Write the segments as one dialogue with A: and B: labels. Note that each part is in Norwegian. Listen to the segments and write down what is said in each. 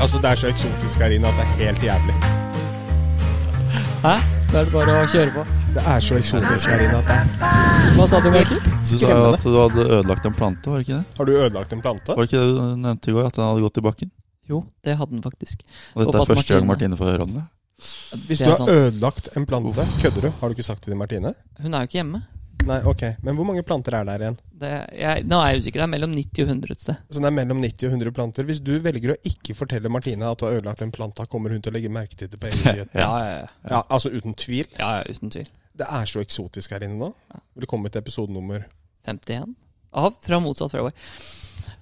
A: Altså, det er så eksotisk her inne at det er helt jævlig.
B: Hæ? Da er det bare å kjøre på.
A: Det er så eksotisk her inne at det er
B: Hva sa du, Michael?
C: Du sa jo at du hadde ødelagt en plante, var det ikke det?
A: Har du ødelagt en plante?
C: Var det ikke det du nevnte i går, at den hadde gått i bakken?
B: Jo, det hadde den faktisk.
C: Og dette
B: Håper
C: er
B: at
C: første gang
B: Martine-
C: Martine får høre om det.
A: Hvis
B: Det
A: du
B: er
A: har
B: sant.
A: ødelagt en plante, kødder du? Har du ikke sagt det til Martine?
B: Hun er jo ikke hjemme.
A: Nei, ok. Men hvor mange planter er der igjen?
B: Det, jeg, nå er jeg usikker. Det er mellom 90 og 100 et sted.
A: Så det er mellom 90 og 100 planter. Hvis du velger å ikke fortelle Martine at du har ødelagt en plante, kommer hun til å legge merke til det på egen nyhet.
B: Ja, ja, ja.
A: Ja, altså uten tvil.
B: ja, ja uten tvil.
A: Det er så eksotisk her inne nå. Velkommen til episode nummer
B: 51 av Fra motsatt fairway.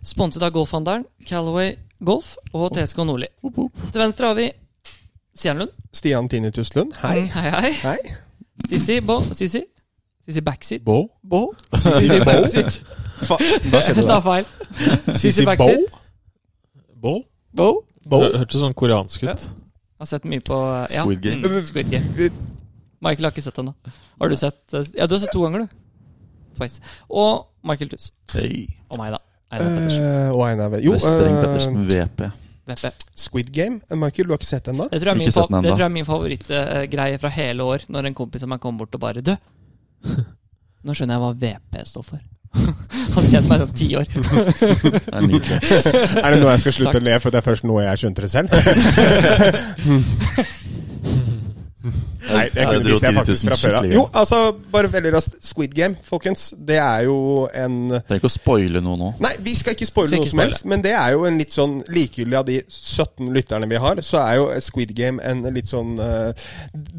B: Sponset av Golfhandelen, Callaway Golf og TSK Nordli. Til venstre har vi Stjernlund.
A: Stian Tinnitus Lund. Hei.
B: hei, hei.
A: Hei.
B: Sissi Bo. Sissi. Sissi Backseat.
D: Bo?
B: Bo. Sissi Backseat.
A: Fa da
B: Jeg
A: skjedde
B: sa
A: det.
B: feil.
A: Sissy
B: Sissi Backseat.
D: Bo?
B: Bo.
A: Bo?
D: Hø- Hørtes sånn koreansk ut.
B: Har sett mye på ja.
C: Squid Game.
B: Mm, Squid Game. Michael har ikke sett den, da. Har du sett eh, Ja, du har sett to ganger, du. Twice. Og Michael Tuss.
C: Hei.
B: Og meg, da. Einar Pettersen.
A: Eh, og Einar Ve- Jo,
C: Vestreng
A: eh,
C: Pettersen, VP.
B: VP.
A: Squid Game. Eh, Michael, du har ikke sett den da?
B: Det tror jeg er min,
C: Ikke sett den
B: fa- det
C: enda.
B: tror jeg er min favorittgreie fra hele år. Når en kompis av meg kommer bort og bare Du! Nå skjønner jeg hva VP står for. Han kjente meg i sånn ti år.
C: Det er nydelig.
A: Er det nå jeg skal slutte å le, for det er først nå jeg skjønte det selv? Nei, det
C: Jeg
A: kunne
C: dro
A: visst jeg faktisk
C: 10 000
A: fra før av.
C: skikkelig.
A: Jo, altså, bare veldig raskt. Squid Game, folkens. Det er jo en
C: Trenger ikke å spoile noe nå.
A: Nei, vi skal ikke spoile
B: Skal
A: noe
B: ikke
A: som
B: spoile.
A: helst, men det er jo en litt sånn likegyldig av de 17 lytterne vi har, så er jo Squid Game en litt sånn eh,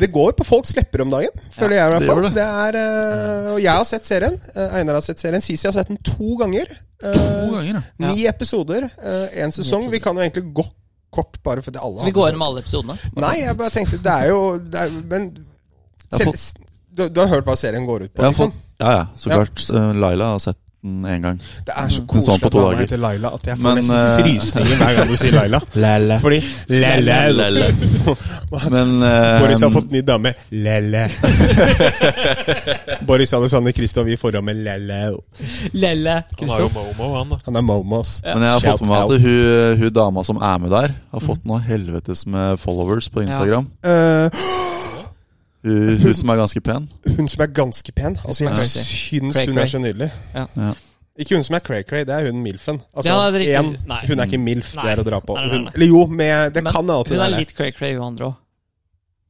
A: Det går på folks lepper om dagen, føler jeg i hvert
C: det
A: fall.
C: gjør
A: Det. er eh, Og jeg har sett serien. eh, Einar har sett serien. Sisi har sett den to ganger. eh,
C: To ganger, ja.
A: Ni episoder, én sesong. Vi kan jo egentlig gå kort, bare fordi alle
B: Vi går gjennom alle episodene.
A: Nei, jeg bare tenkte Det er jo det er, Men
C: Jeg har
A: selv, du, du har hørt hva serien går ut på?
C: Jeg har
A: Liksom.
C: fått, ja, ja, så
A: Ja.
C: klart. Eh, Laila har sett den én gang.
A: Det er så
C: Hun så
A: koselig
C: den på
A: at
C: to
A: mamma
C: dager.
A: heter Laila at jeg får
C: Men, eh,
A: nesten frysninger hver gang du sier Laila.
D: Lele.
A: Fordi Lele
C: Men eh,
A: Boris har fått ny dame. Lele. Boris Alexander Kristoff i forhold med Lele.
B: Lelle.
D: Han har jo momo, han da.
A: Han er momos.
C: Men jeg har
A: Shout
C: fått med meg
A: out.
C: at hun, hun dama som er med der, har fått noe helvetes med followers på Instagram.
A: Eh,
C: Hun, hun som er ganske pen.
A: hun som er ganske pen. Altså, jeg
B: Crazy.
A: syns
B: Cray
A: hun
B: cray.
A: er så nydelig.
B: Ja.
C: Ja.
A: Ikke hun som er cray-cray, det er hun milfen. Altså,
B: Ja, det er riktig.
A: en,
B: Nei.
A: hun er ikke milf, det
B: Nei.
A: er å dra på.
B: Nei, nei,
A: Hun,
B: nei.
A: eller jo, med, det
B: Men
A: kan hende at
B: Hun
A: hun
B: er
A: er det.
B: litt cray-cray, hun andre òg.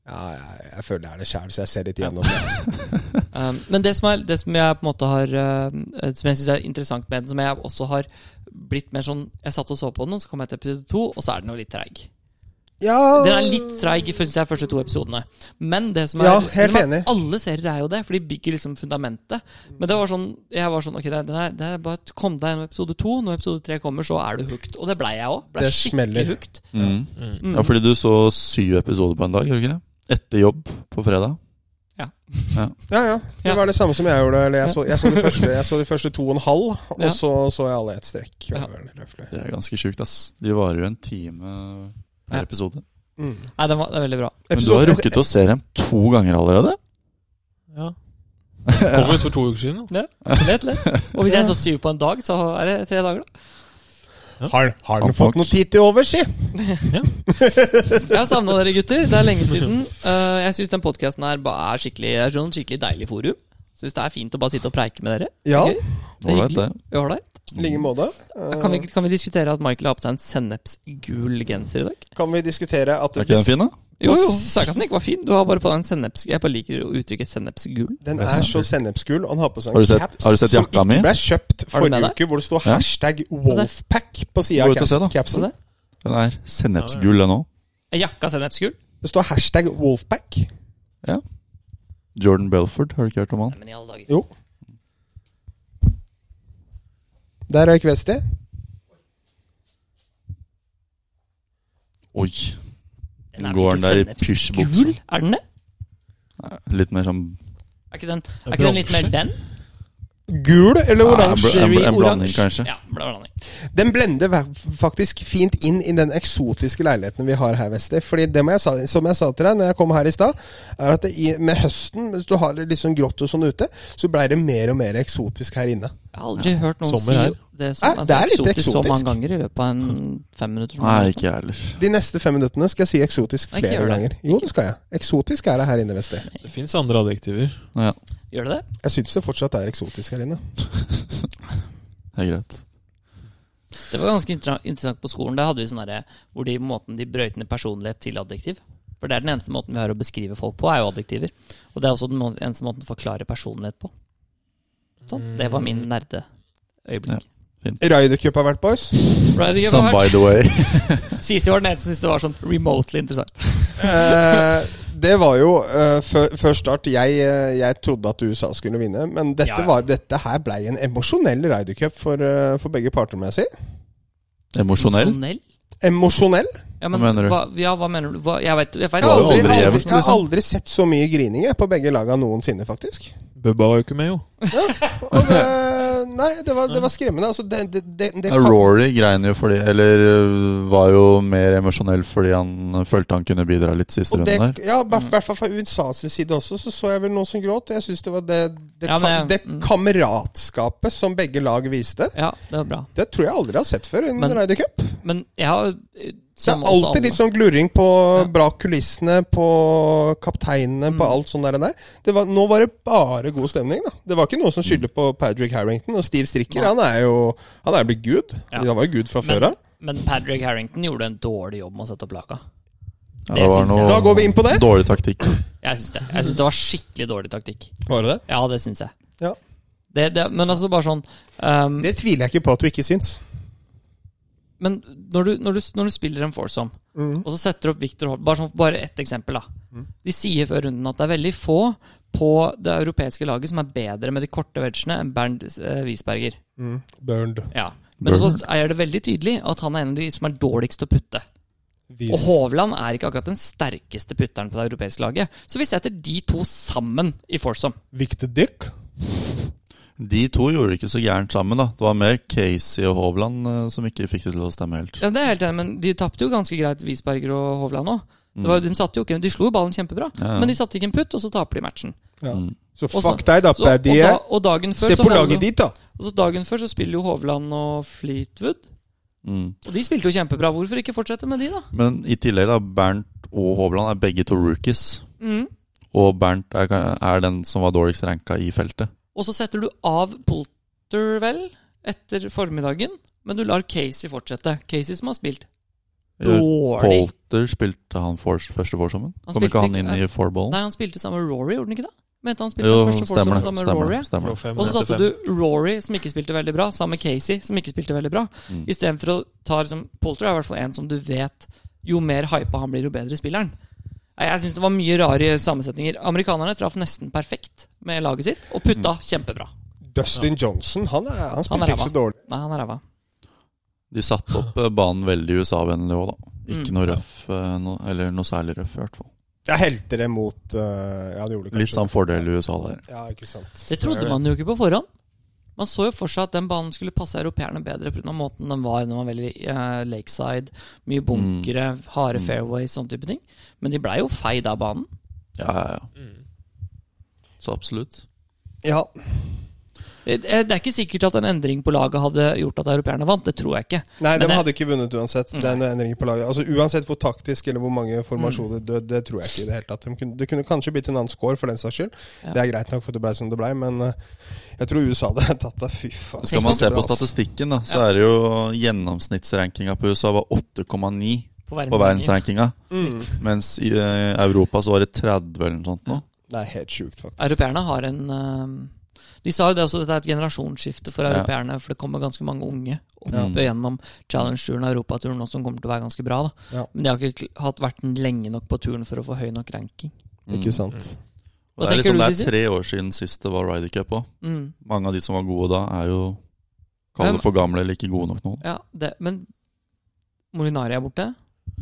A: Ja, jeg, jeg føler det er det sjæl, så jeg ser litt igjennom det. altså.
B: Um, men det som, er, det som jeg på en måte har um, Som jeg syns er interessant med den, som jeg også har blitt mer sånn Jeg satt og så på den, og så kom jeg til episode to, og så er den jo litt treig.
A: Ja,
B: Den er litt treig i synes jeg, første to episodene. Men det som er,
A: Ja, helt
B: det som er
A: enig.
B: alle serier er jo det, for de bygger liksom fundamentet. Men det var sånn, jeg var sånn Ok, det er, det er- det er bare kom deg gjennom episode to. Når episode tre kommer, så er du hooked. Og det blei jeg òg. Blei
A: Det
B: skikkelig
A: smeller.
B: hooked.
C: Mm. Ja, fordi du så syv episoder på en dag, gjorde du ikke det? Etter jobb på fredag.
A: ja, ja. Det
B: Ja.
A: var det samme som jeg gjorde. Eller jeg, så, jeg, så de første, jeg så de første to og en halv, og
B: Ja.
A: så så jeg alle i ett strekk. Det var
B: Ja.
A: veldig røffelig.
C: Det er ganske sjukt, ass. De varer jo en time
B: Ja.
C: per episode.
A: Mm.
B: Nei, den var, det er veldig bra.
C: Men du har rukket å se dem to ganger allerede?
D: Ja. Kom ut for to uker siden. da.
B: Lett, lett. Og hvis jeg så syv på en dag, så er det tre dager, da.
A: Har, har
C: Sånn
A: den fått
C: folk.
A: noe tid til overs, si?
B: Jeg har savna dere, gutter. Det er lenge siden. Eh, jeg syns den podkasten her ba- er skikkelig, er sånn skikkelig deilig forum. Syns det er fint å bare sitte og preike med dere.
A: Ja,
B: Det er gøy. Det er
C: Ålreit,
B: hyggelig.
C: det.
B: Ja, ålreit.
A: i like måte.
B: Ja,
A: Eh,
B: Kan vi, kan vi diskutere at Michael har på seg en sennepsgul genser i dag?
A: kan vi diskutere at
C: Er ikke den fin, da?
B: Jo, jo, sa ikke at den ikke var fin. Du har bare på deg en senneps... Jeg bare liker å uttrykke sennepsgul.
A: Den er så sennepsgul, og han har på seg
C: Har
A: en
C: du sett-
A: caps
C: har du sett
A: som
C: jakka
A: ikke
C: mi?
A: ble kjøpt
B: Har du med
A: forrige
B: deg?
A: uke, hvor det står
C: Ja.
A: hashtag Wolfpack på sida
C: Gå
A: av
C: ut og se, da.
A: caps- capsen.
B: Altså,
C: Den er sennepsgull, den òg.
B: Er jakka sennepsgul?
A: Det står hashtag Wolfpack.
C: Jordan Belford, har du ikke hørt om han?
B: Nei, men i alle dager.
A: Jo. Der røyk Westy.
C: Oi.
B: Den er
C: Går
B: vel ikke
C: den der i
B: sennepsgul?
C: pysjbuksa?
B: Er den det?
C: Litt mer sånn
B: Er ikke den, er ikke den litt mer
D: Bronse.
B: den?
A: Gul eller
C: Ja, en,
A: oransje?
C: bl- en, bl- en
B: Oransje.
C: blanding, kanskje.
B: Ja, ble blanding.
A: Den blender va- faktisk fint inn i den eksotiske leiligheten vi har her, Wester. Fordi det må jeg, sa- som jeg sa til deg når jeg kom her i stad, er at det i, med høsten, hvis du har det litt sånn grått og sånn ute, så blei det mer og mer eksotisk her inne.
B: Jeg har aldri hørt noen
D: Sommer her.
B: si det som
A: Nei,
B: er,
A: det er litt
B: så eksotisk så
A: eksotisk.
B: mange ganger i løpet av en fem minutter.
C: Nei, ikke jeg heller.
A: De neste fem minuttene skal jeg si eksotisk
B: Nei, ikke
A: flere
B: gjør det.
A: ganger. Jo, det skal jeg. Eksotisk er det her inne, Wester.
D: Det fins andre adjektiver.
C: Ja,
B: Gjør det det?
A: Jeg syns det fortsatt er eksotisk her inne.
C: det er greit.
B: Det var ganske inter- interessant på skolen. Der hadde vi sånn derre hvor de måten de brøyt ned personlighet til adjektiv. For det er den eneste måten vi har å beskrive folk på, er jo adjektiver. Og det er også den må- eneste måten å forklare personlighet på. Sånn. Det var min nerdeøyeblikk.
A: Raidercup har vært, boys.
B: Friday Cup
C: Sånn by the way.
B: Sisi var den eneste som syntes det var sånn remotely interessant.
A: Eh, det var jo eh, før, før start jeg, eh, jeg trodde at USA skulle vinne, men dette,
B: Ja, ja.
A: Var, dette her blei en emosjonell Raidercup for, eh, for begge parter, må jeg si.
C: Emosjonell.
A: Emosjonell?
B: Ja, men,
C: Hva mener du?
B: Hva, ja, hva mener du? Hva, jeg vet, jeg vet
A: Jeg har
C: var jo
A: aldri,
C: aldri
A: aldri,
C: jevnt,
A: jeg har aldri sett så mye grining jeg, på begge laga noensinne, faktisk.
D: Bubba var jo ikke med, jo.
A: Og det, nei, det var, det var skremmende. Altså, det, det, det, det kan,
C: Rory grein jo fordi Eller øh, var jo mer emosjonell fordi han følte han kunne bidra litt siste
A: og det,
C: runden der.
A: ja, I
B: Mm.
A: hvert hvert fall fra USAs side også, så så jeg vel noen som gråt. Jeg syns det var det, det,
B: Ja, men-
A: kam,
B: mm.
A: det kameratskapet som begge lag viste.
B: Ja, det var bra.
A: Det tror jeg aldri jeg har sett før
B: Men-
A: under Raidercup.
B: Men jeg har eh,
A: Det er alltid litt sånn glurring på bra kulissene, på kapteinene, på
B: Mm.
A: alt sånt der. der. Det var, nå var det bare god stemning, da. Det var ikke noen som skyldte på Patrick Harrington. Og Steve Stricker,
B: Nei.
A: han er jo Han er blitt gud.
B: Ja.
A: Han var jo gud fra før
B: men,
A: av.
B: men Patrick Harrington gjorde en dårlig jobb med å sette opp laka.
C: Ja,
B: det syns jeg.
A: Da går vi inn på det.
C: Dårlig taktikk.
B: Jeg syns det. Jeg synes det var skikkelig dårlig taktikk.
A: Var det det?
B: Ja, det syns jeg.
A: Ja.
B: Det, det, men altså bare sånn ehm,
A: Det tviler jeg ikke på at du ikke syns.
B: Men når du, når, du, når du spiller en foursome,
A: Mm.
B: og så setter du opp Victor Holt Bare, sånn, bare ett eksempel, da. De sier før runden at det er veldig få på det europeiske laget som er bedre med de korte wedgene enn Bernd eh, Wiesberger.
A: Mm. Burned.
B: Ja. Men
C: Bernd.
B: så er det veldig tydelig at han er en av de som er dårligst til å putte. Og Hovland er ikke akkurat den sterkeste putteren på det europeiske laget. Så vi setter de to sammen i foursome.
A: Victor Dick.
C: De to gjorde det ikke så gærent sammen, da. Det var mer Casey og Hovland eh, som ikke fikk det til å stemme helt.
B: Ja, det er jeg helt enig, men de tapte jo ganske greit, Wiesberger og Hovland òg. De, satte jo ikke- de slo jo ballen kjempebra,
C: Mm. Ja.
B: men de satte ikke en putt, og så taper de matchen.
A: Ja.
C: Mm.
A: Så
B: Og
A: fuck
B: så-
A: deg, da,
B: Så, og,
A: Paddy.
B: da, og, dagen før,
A: Se
B: så
A: på
B: var det
A: laget
B: jo-
A: ditt, da.
B: og så dagen før så spiller jo Hovland og Fleetwood.
C: Mm.
B: Og de spilte jo kjempebra. Hvorfor ikke fortsette med de, da?
C: Men i tillegg, da, Bernt og Hovland er begge to rookies.
B: Mm.
C: Og Bernt er, er den som var dårligst ranka i feltet.
B: Og så setter du av Polter, vel, etter formiddagen, men du lar Casey fortsette. Casey som har spilt dårlig.
C: Polter Eh, spilte han for, første forsommen.
B: Han
C: Kom ikke
B: spilte
C: han
B: ikke-
C: inn i fourballen?
B: Nei, han spilte sammen med Rory, gjorde han ikke det? Mente han spilte
C: Oh. Jo,
B: den første
C: stemmer
B: foursomen
C: det.
B: sammen med
C: Stemmer,
B: Rory?
C: det, stemmer.
D: Lå
C: det.
D: fem
B: Og så
D: etter
B: satte
D: fem.
B: du Rory, som ikke spilte veldig bra, sammen med Casey, som ikke spilte veldig bra.
C: Mm.
B: Istedenfor å ta liksom, Polter er i hvert fall en som du vet Jo mer hypa han blir, jo bedre spiller han. Nei, Jeg syns det var mye rare sammensetninger. Amerikanerne traff nesten perfekt med laget sitt, og putta kjempebra.
A: Dustin Johnson, han, er, han
B: Han er
A: spilte ikke så
B: ræva.
A: dårlig.
B: Nei, han er ræva.
C: De satte opp eh, banen veldig USA-vennlig òg, da. Ikke
B: Mm.
C: noe røff, eh, no, eller noe særlig røff, i hvert fall.
A: Jeg helte det mot eh, Ja, det gjorde det kanskje.
C: Litt sånn fordel i USA der.
A: Ja, ikke sant.
B: Det trodde man jo ikke på forhånd. Man så jo for seg at den banen skulle passe europeerne bedre pga. måten den var. Den var veldig eh, lakeside, mye bunkere, harde
C: Mm.
B: fairways, sånne type ting. Men de blei jo feid av banen.
C: Ja, ja, ja.
A: Mm.
C: Så absolutt.
A: Ja,
B: Eh, eh, Det er ikke sikkert at en endring på laget hadde gjort at europeerne vant. Det tror jeg Mm. ikke.
A: Nei,
B: Men
A: de
B: det-
A: hadde ikke vunnet uansett. Det er noen endringer på laget Altså Uansett hvor taktisk eller hvor mange formasjoner
B: Mm.
A: det, det tror jeg ikke i det hele tatt. De kunne, det kunne kanskje blitt en annen score, for den saks skyld.
B: Ja.
A: Det er greit nok for at det blei som det blei, men eh, jeg tror USA hadde tatt det. Fy faen.
C: Skal man se på statistikken, da, så er det jo gjennomsnittsrankinga på USA var 8,9
B: På verden.
C: på verdensrankinga.
B: Mm.
C: Mens i eh, Europa så var det 30 eller noe sånt nå.
A: Det er helt sjukt, faktisk.
B: Europeerne har en eh, De sa jo det også, dette er et generasjonsskifte for
C: Ja.
B: europeerne. For det kommer ganske mange unge opp
C: Ja.
B: gjennom Challenge-turen og Europaturen nå, som kommer til å være ganske bra. Da.
A: Ja.
B: Men de har ikke kl- hatt vært lenge nok på turen for å få høy nok ranking.
A: Ikke sant.
B: Hva
C: Det er,
B: tenker
C: liksom,
B: du,
C: det er
B: Sisi?
C: tre år siden sist det var Ryder Cup òg.
B: Mm.
C: Mange av de som var gode da, er jo Kall
B: Hvem-
C: det for gamle eller ikke gode nok nå.
B: Ja, det, men Molinari er borte.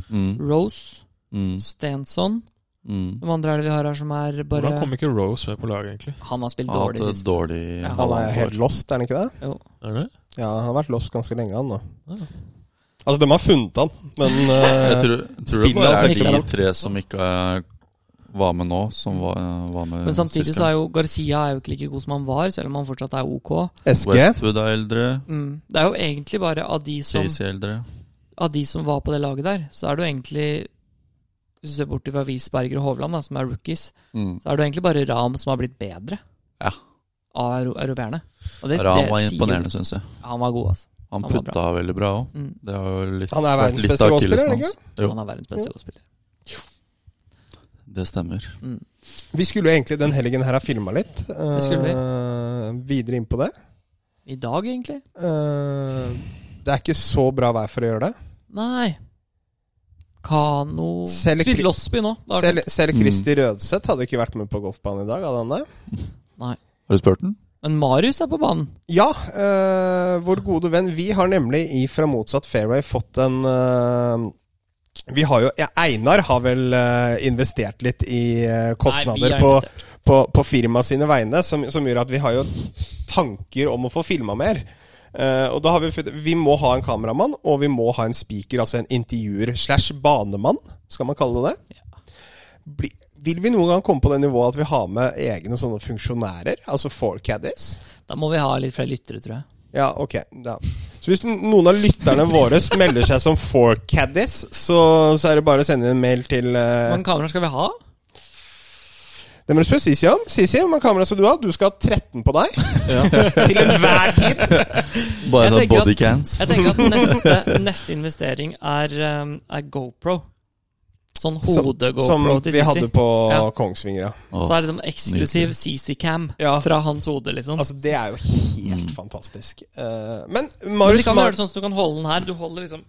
C: Mm.
B: Rose,
C: Mm.
B: Stensson,
C: Mm.
B: Hvem andre er det vi har her som er bare
D: Hvordan kom ikke Rose med på laget, egentlig?
B: Han har spilt
C: Har
B: dårlig
C: hatt et
B: sist.
C: eh, dårlig
B: Ja.
A: Han
C: halvannet
A: er helt
C: år.
A: lost, er han ikke det?
B: Jo.
D: Er det?
A: Ja, han har vært lost ganske lenge, han nå.
D: Ja.
A: Altså, de har funnet han, men eh,
C: Jeg tror, tror det
A: Spillet
C: bare
A: har
C: er
A: sett
C: de
A: bra.
C: tre som ikke eh, var med nå, som var, eh, var med
B: Men samtidig
C: sist
B: så
C: gang.
B: er jo Garcia er jo ikke like god som han var, selv om han fortsatt er ok.
A: eh, SG
C: Westwood er eldre,
B: Mm. Det er jo egentlig bare av de som
C: Chase er eldre.
B: av de som var på det laget der, så er det jo egentlig Hvis du ser bort fra Wiesberger og Hovland, da, som er rookies,
C: Mm.
B: så er det jo egentlig bare Ram som har blitt bedre
C: Ja.
B: av euro- europeerne. Og det-
C: Ram
B: det
C: var
B: sier jo
C: imponerende,
B: litt.
C: syns jeg.
B: Han var god, altså.
C: Han
B: var
C: putta veldig bra òg.
B: Mm.
C: Det har jo litt,
A: Han er
C: vært
A: verdens
C: litt
A: beste
C: av
A: golfspiller, er
C: akillesen
A: det
C: hans. Jo,
B: Han er verdens beste golfspiller.
C: det stemmer.
B: Mm.
A: Vi skulle jo egentlig den helgen her ha filma litt. eh,
B: Det skulle vi.
A: videre inn på det.
B: I dag, egentlig?
A: Eh, det er ikke så bra vær for å gjøre det.
B: Nei. Kano
A: Selv-
B: Spilte Losby nå. Da har
A: Selv,
B: det-
A: selv
C: Mm.
A: Kristi Rødseth hadde ikke vært med på golfbanen i dag. Hadde han det?
C: Har du spurt den?
B: Men Marius er på banen.
A: Ja, eh, vår gode venn. Vi har nemlig i Fra motsatt fairway fått en eh, Vi har jo ja, Einar har vel eh, investert litt i eh, kostnader
B: Nei, vi
A: på,
B: har investert.
A: på, på firma sine vegne, som, som gjør at vi har jo tanker om å få filma mer. Eh, og da har vi funnet Vi må ha en kameramann, og vi må ha en speaker, altså en intervjuer slash banemann, skal man kalle det det. Bli, vil vi noen gang komme på det nivået at vi har med egne sånne funksjonærer? Altså four caddies?
B: Da må vi ha litt flere lyttere, tror jeg.
A: Ja, ok. Ja. Så hvis noen av lytterne våre melder seg som four caddies, så, så er det bare å sende en mail til
B: Hvor
A: eh,
B: mange kameraer skal vi ha?
A: Det må du spørre Sisi om. Sisi, hvor mange kamera skal du ha? Du skal ha 13 på deg. til enhver tid.
C: Bare
B: Jeg
C: sånn
B: tenker at-
C: bodycans.
B: Jeg tenker at neste, neste investering er, um, er GoPro. Sånn hode-GoPro
A: som
B: til
A: vi hadde
B: Sisi.
A: på
B: Ja.
A: Kongsvinger, ja.
B: Så er det sånn eksklusiv CC-cam
A: Ja.
B: fra hans hode, liksom.
A: Altså, det er jo helt fantastisk. Eh, men
B: Mm. Men du
A: Marius
B: kan
A: Mar
B: gjøre det sånn at du kan holde den her. Du holder liksom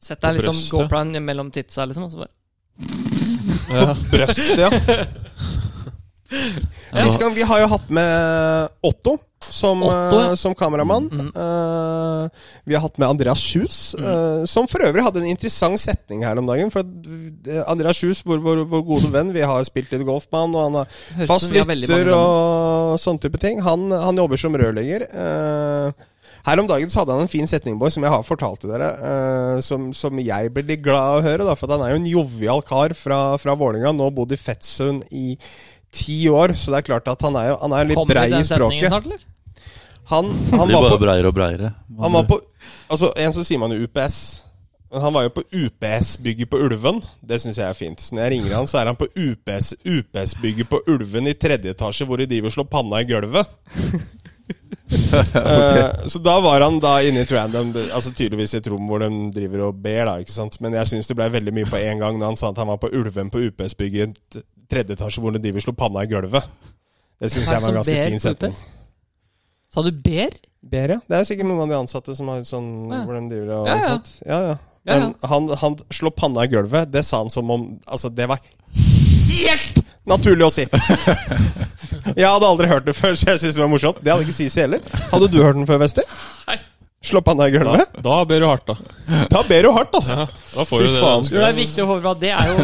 B: Sett deg
D: På
B: liksom
D: brøstet.
B: GoProen mellom titsa, liksom, og så bare
D: Ja.
A: brøstet, ja. Sist gang, Vi har jo hatt med Otto som,
B: Otto, ja. Mm.
A: eh, som kameramann. Eh, vi har hatt med Andreas Kjus, eh,
B: Mm.
A: som for øvrig hadde en interessant setning her om dagen. For at, eh, Andreas Kjus, vår, vår, vår gode venn, vi har spilt litt golf med han, og han er
B: Høres ut
A: fast
B: som vi har veldig mange
A: lytter og sånne type ting. Han, han jobber som rørlegger. eh, her om dagen så hadde han en fin setning, boy, som jeg har fortalt til dere. eh, som, som jeg ble litt glad av å høre, da, for at han er jo en jovial kar fra, fra Vålerenga. Nå bodd i Fettsund i ti år, så det er klart at han er jo han er jo litt
B: Kommer
A: brei
B: den
A: i
B: setningen
A: språket.
B: snart, eller?
A: Han, han,
C: Blir
A: var
C: bare
A: på,
C: breiere og breiere.
A: han var på Altså, en så sier man jo UPS. Men Han var jo på UPS-bygget på Ulven. Det syns jeg er fint. Så når jeg ringer han, så er han på UPS-bygget på Ulven i tredje etasje, hvor de driver og slår panna i gulvet. Eh, Så da var han da inne i et random Altså tydeligvis i et rom hvor de driver og ber, da. ikke sant Men jeg syns det ble veldig mye på én gang når han sa at han var på Ulven på UPS-bygget i t- tredje etasje hvor de driver og slår panna i gulvet. Det syns
B: Hva er
A: jeg var en
B: det som
A: ganske
B: ber
A: fin
B: på
A: setning.
B: UPS? Sa du ber?
A: Ber, ja. Det er jo sikkert noen av de ansatte som har sånn
B: Ja.
A: hvor de driver og
B: Ja,
A: ikke
B: ja.
A: sant? Ja, ja.
B: Ja,
A: Men han, han slår panna i gulvet. Det sa han som om Altså, det var helt naturlig å si! Jeg hadde aldri hørt det før, så jeg syns det var morsomt. Det hadde ikke Sisi heller. Hadde du hørt den før, Wester?
B: Nei.
A: Slå panna i
D: Da,
A: gulvet?
D: da ber du hardt, da.
A: Da ber du hardt, altså.
D: Ja, da får
A: Fy
D: du det.
A: faen.
D: du
B: Jo, det er
D: skal.
B: viktig å håpe at det er jo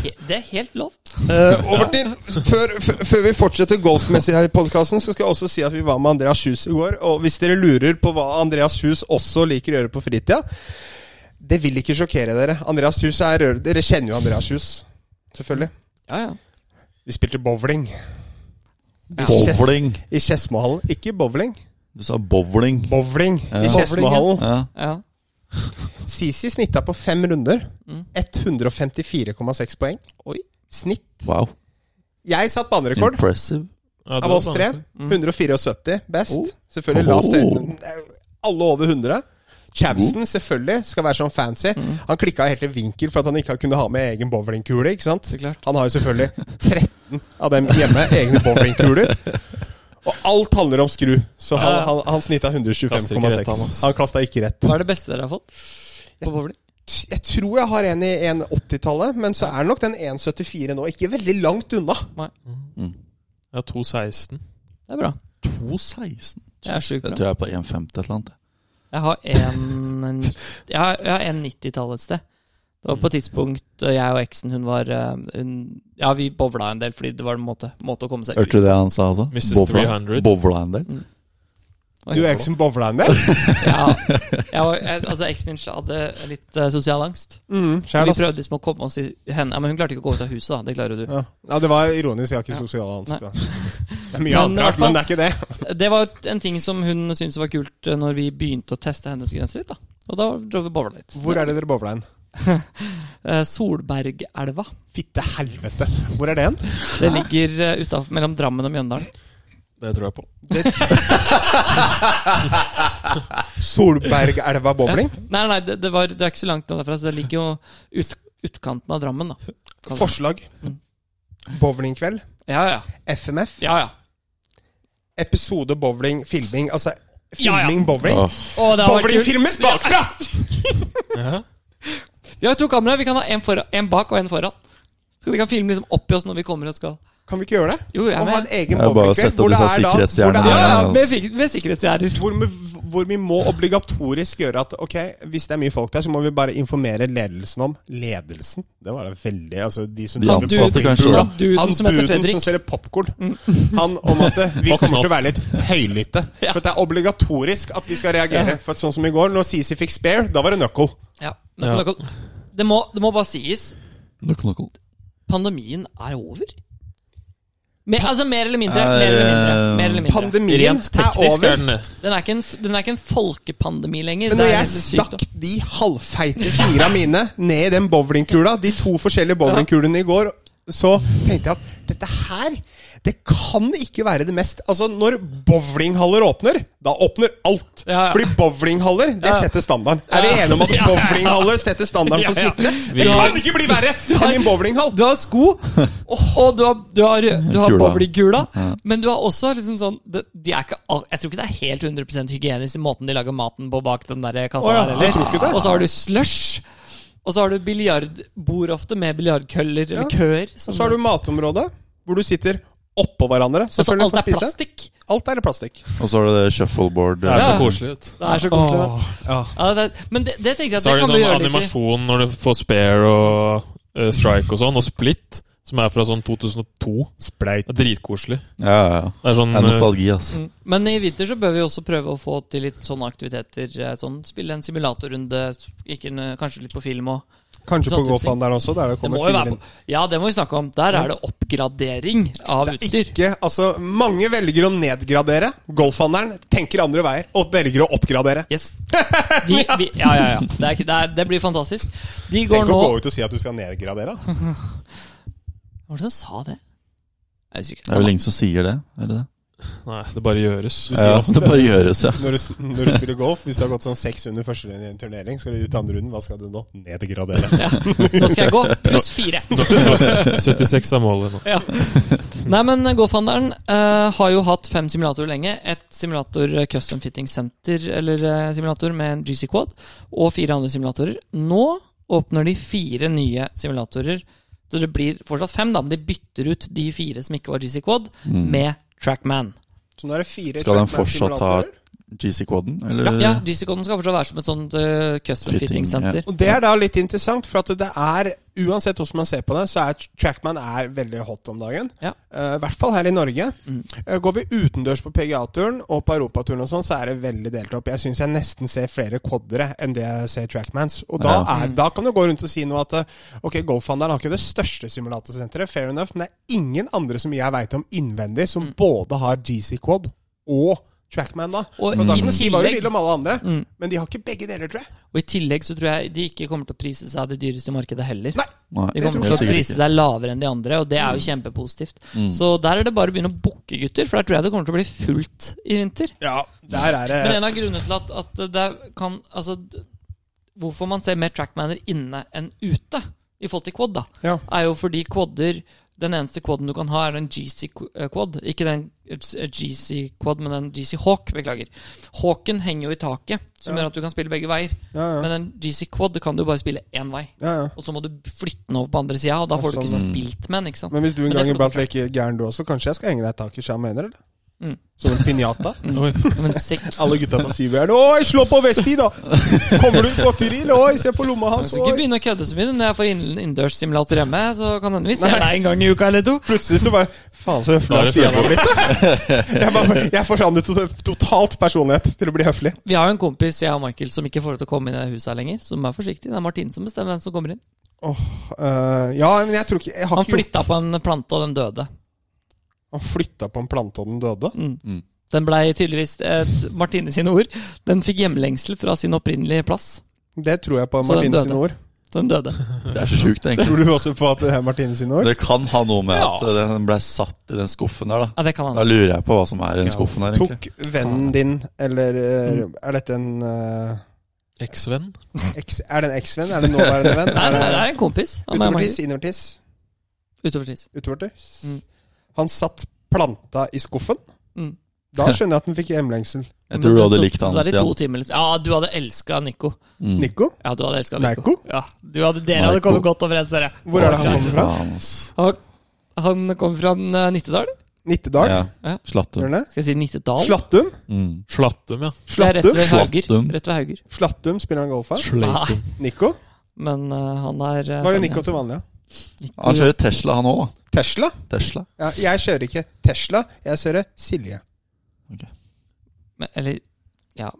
B: he- Det er helt lov.
A: Eh, over til før, f- før vi fortsetter golfmessig her i podkasten, så skal jeg også si at vi var med Andreas Kjus i går. Og hvis dere lurer på hva Andreas Kjus også liker å gjøre på fritida Det vil ikke sjokkere dere. Andreas Kjus er rør... Dere kjenner jo Andreas Kjus. Selvfølgelig.
B: Ja, ja.
A: Vi spilte bowling
B: Ja.
C: Bowling!
A: i Skedsmohallen. Ikke bowling.
C: Du sa bowling.
A: Bowling i
C: Ja.
A: Skedsmohallen.
C: Ja.
B: ja.
A: Sisi snitta på fem runder.
B: Mm.
A: 154,6 poeng.
B: Oi.
A: Snitt.
C: Wow.
A: Jeg satt banerekord.
C: Impressive.
D: Ja, det
A: Av
D: var
A: oss tre.
D: vanskelig.
A: 174 best.
B: Oh.
A: Selvfølgelig
C: Oh.
A: lavt høyden. Alle over 100. Chavsen selvfølgelig skal være sånn fancy. Han klikka helt i vinkel for at han ikke kunne ha med egen bowlingkule. ikke sant?
B: Så klart.
A: Han har jo selvfølgelig 13 av dem hjemme, egne bowlingkuler. Og alt handler om skru, så han, han, han snitta
D: Kaster ikke rett, han,
A: 125,6.
D: ass.
A: Han kasta ikke rett.
B: Hva er det beste dere har fått på bowling?
A: Jeg tror jeg har en i 1,80-tallet, men så er nok den 1,74 nå. Ikke veldig langt unna. Mm.
D: Ja, 2,16.
B: Det er bra.
C: 2,16.
B: Det er sjukt
C: Jeg
B: bra.
C: tror jeg er på 1,50 et eller annet.
B: Jeg har en Jeg har, jeg har en 90-tall et sted. Det var på
A: Mm.
B: et tidspunkt eh, jeg og eksen hun var eh, hun, Ja, vi bowla en del, fordi det var en måte, måte å komme seg ut
C: Hørte du det han sa også?
D: Mrs.
C: Bovla-
D: 300.
C: Bovla en del.
B: Oi,
A: Du er ikke som bowleren der?
B: Ja, jeg var, jeg, altså Eksen min hadde litt eh, sosial angst.
A: Mm,
B: Så
A: skjær,
B: vi
A: altså.
B: prøvde liksom å komme oss i henne Ja, Men hun klarte ikke å gå ut av huset, da. Det klarer jo du.
A: Ja. ja, det var ironisk. Jeg har ikke
B: Ja.
A: sosial angst.
B: Nei.
A: da. Det er
B: Men altså-
A: mye annet
B: i hvert
A: rart, men
B: fall-
A: det er ikke det.
B: Det var en ting som hun syntes var kult eh, når vi begynte å teste hennes grenser litt. da Og da dro vi og bowla litt.
A: Hvor er det dere bowler hen?
B: Eh, Solbergelva.
A: Fitte helvete. Hvor er det hen?
B: Det ligger eh, utenfor- mellom Drammen og Mjøndalen.
D: Det tror jeg på.
A: Solbergelva bowling?
B: Nei, nei, det, det, var, det er ikke så langt derfra, så det ligger jo ut, utkanten av Drammen, da. Kan-
A: Forslag.
B: Mm.
A: Bowlingkveld.
B: Ja, ja.
A: FMF.
B: ja, ja.
A: Episode bowling, filming. Altså
B: Ja, ja.
A: filming bowling.
C: Åh,
B: Å, det har vært
A: Bowling
B: kult.
A: filmes bakfra!
D: Ja.
B: Vi har to kameraer. Vi kan ha en, foran, en bak og en foran. Så de kan filme liksom oppi oss når vi kommer og skal
A: Kan vi ikke gjøre det?
B: Jo, jeg
A: Og
B: er
A: ha
B: med.
A: en egen
C: Det er bare å
A: bowlingkveld.
C: sette
A: Hvor
C: opp
A: det
C: disse
A: er da hvor
C: sikkerhetsgjerdene
A: det
B: Ja,
A: er,
B: ja,
C: altså.
B: med, sik med sikkerhetsgjerder.
A: hvor, vi, hvor vi må obligatorisk gjøre at ok, hvis det er mye folk der, så må vi bare informere ledelsen om Ledelsen? Det var det veldig altså, de som
C: De
A: jobber på
C: ansatte,
A: Bowling
C: kanskje,
A: Bula.
C: da.
B: Han duden
A: Han
B: som heter
A: duden som
B: Fredrik. Mm.
A: selger popkorn. Han om at eh, vi
D: Og
A: kommer til å
D: knapt.
A: være litt høylytte.
B: Ja.
A: For at det er obligatorisk at vi skal reagere. For at sånn som i går, når CC fikk spare, da var det knuckle.
B: Ja,
D: Ja.
B: det, det, må, det må bare sies.
C: knuckle, knuckle.
B: Pandemien er over. Mer, altså mer eller mindre.
C: Eh,
B: Mer eller mindre, mer eller mindre.
A: Pandemien
D: Rent
A: er
D: teknisk er
A: over.
D: den det.
B: Den, er ikke en, s- den er ikke en folkepandemi lenger.
A: Men
B: Det
A: når
B: er
A: jeg
B: helt sykt,
A: stakk de halvfeite fingra mine ned i den bowlingkula, de to forskjellige bowlingkulene i går, så tenkte jeg at dette her det kan ikke være det mest Altså, når bowlinghaller åpner, da åpner alt.
B: Ja, ja.
A: Fordi bowlinghaller, det
B: Ja.
A: setter standarden. Er vi
B: Ja.
A: enige om at
B: Ja, ja, ja.
A: bowlinghaller setter standarden for
B: Ja, ja.
A: smitte?
D: Vi-
A: Det kan ikke bli verre enn i en bowlinghall!
B: da. Du har sko, og du har, du har, du har
C: Kula.
B: bowlingkula.
C: Ja.
B: Men du har også liksom sånn det- de er ikke, all- Jeg tror ikke det er helt 100 hygienisk i måten de lager maten på bak den der kassa
A: Å ja,
B: der
A: jeg tror ikke
B: heller.
A: det.
B: Og så har du slush. Og så har du biljardbord ofte med biljardkøller eller
A: Ja.
B: køer. som- sånn.
A: Så har du matområdet, hvor du sitter oppå hverandre.
B: Altså,
A: Selvfølgelig
B: alt
A: for å
B: er
A: spise.
B: plastikk.
A: Alt er plastikk.
C: Og så har du det shuffleboard. eh,
D: Det er så
B: Ja.
D: koselig ut.
B: Det er så koselig. da.
A: Åh, ja.
B: Ja, det, er- men det, det tenkte jeg at
D: Så
B: det
D: er det
B: kan du
D: sånn
B: gjøre litt i.
D: animasjon når du får spare og eh, strike og sånn, og split, som er fra sånn 2002.
A: Spleit.
D: Det er dritkoselig.
C: Ja, ja, ja.
D: Det er sånn
C: Det er
D: eh,
C: nostalgi, ass.
B: Mm. Men i vinter så bør vi også prøve å få til litt sånne aktiviteter. eh, Sånn, Spille en simulatorrunde, s- ikke en, eh, kanskje litt på film òg.
A: Kanskje på
B: Sånn type ting.
A: GoFan der også. Der det
B: Det
A: kommer
B: må jo
A: fire
B: være
A: inn.
B: på. Ja, det må vi snakke om. Der er det oppgradering av
A: Det er
B: utstyr.
A: ikke, altså Mange velger å nedgradere. Golfhandleren tenker andre veier og velger å oppgradere.
B: Yes. Vi, vi, ja, ja, ja. Det, er, ikke- det, er, det blir fantastisk. De går
A: Tenk å gå
B: nå
A: ut og si at du skal nedgradere. da.
B: Hva var det som sa det? Jeg husker ikke.
C: Det er vel ingen som sier det? Er det det?
D: eh, Nei, det bare gjøres.
C: Ja, det bare gjøres, ja.
A: Når du, når du spiller golf, hvis du har gått sånn seks under første runde i en turnering, skal du ut i andre runden, hva skal du nå? Nedgradere.
B: Nå skal jeg gå pluss fire.
D: 76 er målet nå.
B: Ja. Nei, men GoFunderen eh, har jo hatt fem simulatorer lenge. Et simulator eh, Custom Fitting Center eller eh, simulator med en GC Quad, og fire andre simulatorer. Nå åpner de fire nye simulatorer. Så det blir fortsatt fem, da, men de bytter ut de fire som ikke var GC Quad, med Trackman.
A: Så nå er det fire
C: Skal den
A: Trackman
C: fortsatt ha
A: simulatorer.
C: GC-koden, eller?
B: Ja, GC Quaden skal fortsatt være som et sånt eh, Custom
C: Eh. Fitting,
B: Fitting Center.
A: Og det er da litt interessant, for at det er Uansett hvordan man ser på det, så er Trackman er veldig hot om dagen.
B: Ja.
A: Eh, I hvert fall her i Norge.
B: Mm.
A: Eh, går vi utendørs på PGA-turen og på europaturen, og sånn, så er det veldig delt opp. Jeg syns jeg nesten ser flere quaddere enn det jeg ser trackmans. Og da, er,
B: Mm.
A: da kan du gå rundt og si noe at eh, ok, golfhandelen har ikke det største simulatorsenteret, fair enough, men det er ingen andre som jeg veit om innvendig, som
B: Mm.
A: både har GC quad og Trackman, da.
B: Og
A: For
B: Mm.
A: da
B: i
A: kan du si hva du
B: tillegg-
A: vil om alle andre, men de har ikke begge deler, tror jeg.
B: Og i tillegg så tror jeg de ikke kommer til å prise seg det dyreste i markedet heller.
A: Nei.
C: Nei,
B: De
A: tror
B: kommer til
C: helt
B: å
C: sikkert
B: prise
C: ikke.
B: seg lavere enn de andre, og det er jo kjempepositivt. Så der er det bare å begynne å booke, gutter, for der tror jeg det kommer til å bli fullt i vinter.
A: Ja, der er det
B: Men en av grunnene til at, at det kan Altså, d- hvorfor man ser mer trackmaner inne enn ute i forhold til quad, da,
A: Ja.
B: er jo fordi quader Den eneste quaden du kan ha, er den GC eh, quad. Ikke den GC quad, men den GC Hawk, beklager. Hawken henger jo i taket, som
A: Ja.
B: gjør at du kan spille begge veier.
A: Ja, ja.
B: Men den GC quad kan du bare spille én vei.
A: ja, ja.
B: Og så må du flytte den over på andre sida, og da får
A: sånn,
B: du ikke spilt med den. ikke sant?
A: Men hvis du en
B: Men det
A: gang
B: får du
A: iblant
B: forklart.
A: leker gæren du også, kanskje jeg skal henge deg tak i Sham Mener, eller?
B: Mm.
A: Som en pinjata.
D: Oi.
B: Men sekk
A: Alle gutta fra Syvjern Oi, slå på Vesti, da! Kommer du ut godteri? eller? Oi, se på lomma
B: Jeg
A: hans!
B: skal ikke
A: Oi.
B: begynne å kødde så mye når jeg får inn- innendørssimulator hjemme. Så kan hende vi ser deg en gang i uka eller to.
A: Plutselig så bare Faen, så høflig
D: Da
A: han
D: er det
A: Stian har blitt. Jeg, bare, jeg forandret to- totalt personlighet til å bli høflig.
B: Vi har jo en kompis jeg og Michael, som ikke får lov til å komme inn i det huset her lenger. Som er forsiktig. Det er Martin som bestemmer hvem som kommer inn.
A: Eh, ja, men jeg tror ikke Jeg har
B: Han
A: ikke gjort
B: flytta på en plante, og den døde.
A: Han flytta på en plante, og den døde.
B: Mm.
C: Mm.
B: Den blei tydeligvis, et Martine sine ord, den fikk hjemlengsel fra sin opprinnelige plass.
A: Det tror jeg på
B: Så den
A: Martine
B: døde.
A: sine ord.
B: Så den døde.
C: Det er så sjukt, egentlig.
A: Tror du også på at det er Martine sine ord?
C: Det kan ha noe med
D: Ja.
C: at eh, den ble satt i den skuffen der, da.
B: Ja, det kan
C: Da
B: han.
C: lurer jeg på hva som er i den skuffen der, egentlig.
A: Tok vennen din, eller eh,
B: Mm.
A: er dette en eh,
D: Eksvenn?
A: eks, Er det en eksvenn? Er det en nåværende venn?
B: Nei,
A: Er
B: nei, det
A: det
B: er en kompis. Han er
A: utovertiss?
B: Michael.
A: Innovertiss?
B: Utovertiss.
A: Utovertiss?
B: Mm.
A: Han satt planta i skuffen.
B: Mm.
A: Da skjønner jeg at den fikk hjemlengsel.
C: Jeg tror du
B: Men
C: hadde
B: så-
C: likt
B: så
C: han,
B: det er i to
C: Stian.
B: timer, liksom. Ja, du hadde elska Nico.
C: Mm.
A: Nico?
B: Ja, du hadde elska
A: Nico?
B: Nico. Ja, du hadde, dere hadde
C: Nico.
B: kommet godt overens, dere.
A: Hvor er det han kommer fra?
C: Faen, ass.
B: Han, han kommer fra en, eh, Nittedal.
A: Nittedal?
C: Ja.
B: Ja.
C: Slattum.
A: Gjør han det?
B: Skal jeg si Nittedal?
A: Slattum?
C: Mm.
D: Slattum, ja.
B: Det er rett
A: Slattum?
B: ved Hauger.
C: Slattum.
B: Rett ved Hauger.
A: Slattum spiller han golf her.
D: Slattum.
A: Nico?
B: Men eh, han er eh,
A: Hva gjør
B: han-
A: Nico til vanlig? da?
C: Han kjører Tesla, han òg, da.
A: Tesla?
C: Tesla.
A: Ja, jeg kjører ikke Tesla, jeg kjører Silje.
B: Men, eller ja.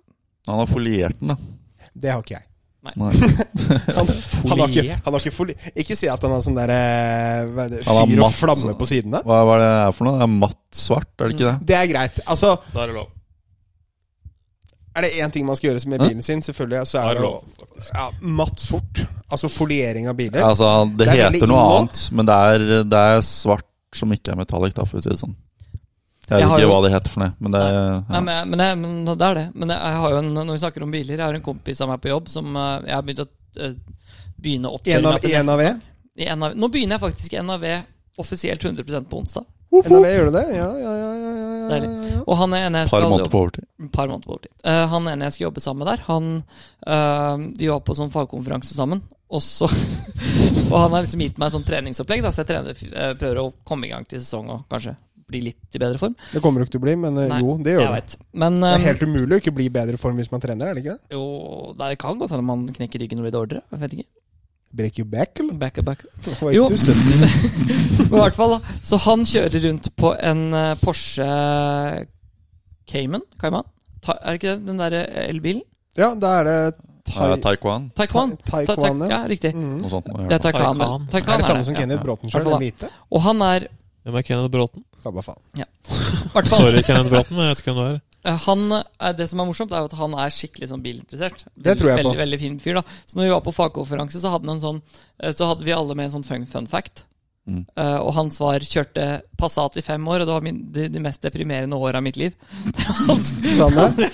C: Han har foliert den, da.
A: Det har ikke jeg.
C: Nei.
A: Han, han har ikke,
B: Foliert?
A: han har ikke foli... Ikke si at han har sånn der eh, hva er det,
C: Han har sånn-
A: Fyr og
C: matt-
A: flamme på sidene.
C: Hva, hva er det her for noe? Det er matt svart, er det ikke det?
A: Det er greit. Altså,
D: Da er det lov.
A: er det én ting man skal gjøre med bilen sin, selvfølgelig, så er
D: Da er
A: det å
D: det lov, faktisk.
A: ja, matt sort. Altså foliering av biler.
C: Altså, det,
A: Det er veldig
C: heter noe
A: innhold.
C: annet, men det er, det er svart som ikke er metallic, da, for å si det sånn. Jeg vet
B: Jeg har
C: ikke
B: jo-
C: hva det heter for noe, men det
B: Nei,
C: ja.
B: men, jeg- men, jeg- men det er det. Men jeg, jeg har jo en, når vi snakker om biler, jeg har en kompis av meg på jobb som eh, jeg har begynt å eh, begynne
A: En
B: oppkjøringa
A: av, en av en.
B: I NAV. Nå begynner jeg faktisk i NAV offisielt 100 på onsdag.
A: En av en gjør du det? Ja, ja, ja. ja, ja, ja, ja,
B: Deilig.
A: ja.
B: Og han er en jeg
C: Par
B: skal
C: måneder på overtid.
B: par måneder på overtid. Eh, han ene jeg skal jobbe sammen med der, han eh, Vi var på sånn fagkonferanse sammen, og så Og han har liksom gitt meg sånn treningsopplegg, da, så jeg trener, eh, prøver å komme i gang til sesong og kanskje bli litt i bedre form.
A: Det kommer du ikke til å bli, men eh,
B: Nei,
A: jo, det gjør
B: jeg
A: du.
B: vet. Men
A: Det er
B: eh,
A: helt umulig å ikke bli i bedre form hvis man trener, er det ikke det?
B: jo Nei, det kan godt hende man knekker ryggen og blir dårligere. Jeg vet ikke.
A: Break your back, eller?
B: Back up, back up.
A: Hva
B: Jo.
A: gikk du søtt?
B: Men i hvert fall, da. Så han kjører rundt på en eh, Porsche Cayman? Cayman? Ta, er det ikke det? Den derre elbilen?
A: Ja, da er det
C: Tai...
A: tai...
C: Taekwondo,
B: Taekwondo.
A: Ta-
B: Ta-
A: Taekwondo.
B: ta- Ja, riktig.
A: Mm.
C: noe sånt.
B: Det er Taekwondo.
A: Er
D: Taycan.
A: det
B: Taekwondo
A: samme som
B: ja.
A: Kenneth Bråten
B: Hvertfall
A: sjøl?
B: da.
A: Den hvite?
B: Og han er
D: Hvem er Kenneth Bråten?
A: Samme faen.
B: i hvert fall,
D: Sorry, Kenneth Bråten, men jeg vet ikke hvem du er.
B: eh, han, eh, Det som er morsomt, er jo at han er skikkelig sånn bilinteressert.
A: Det tror jeg på.
B: Veldig, veldig fin fyr, da. Så når vi var på fagkonferanse, så hadde, han en sånn, eh, så hadde vi alle med en sånn fun, fun fact.
C: Mm.
B: Eh, og hans var kjørte Passat i fem år, og det var min, de, de mest deprimerende åra av mitt liv. hans,
A: Sanne?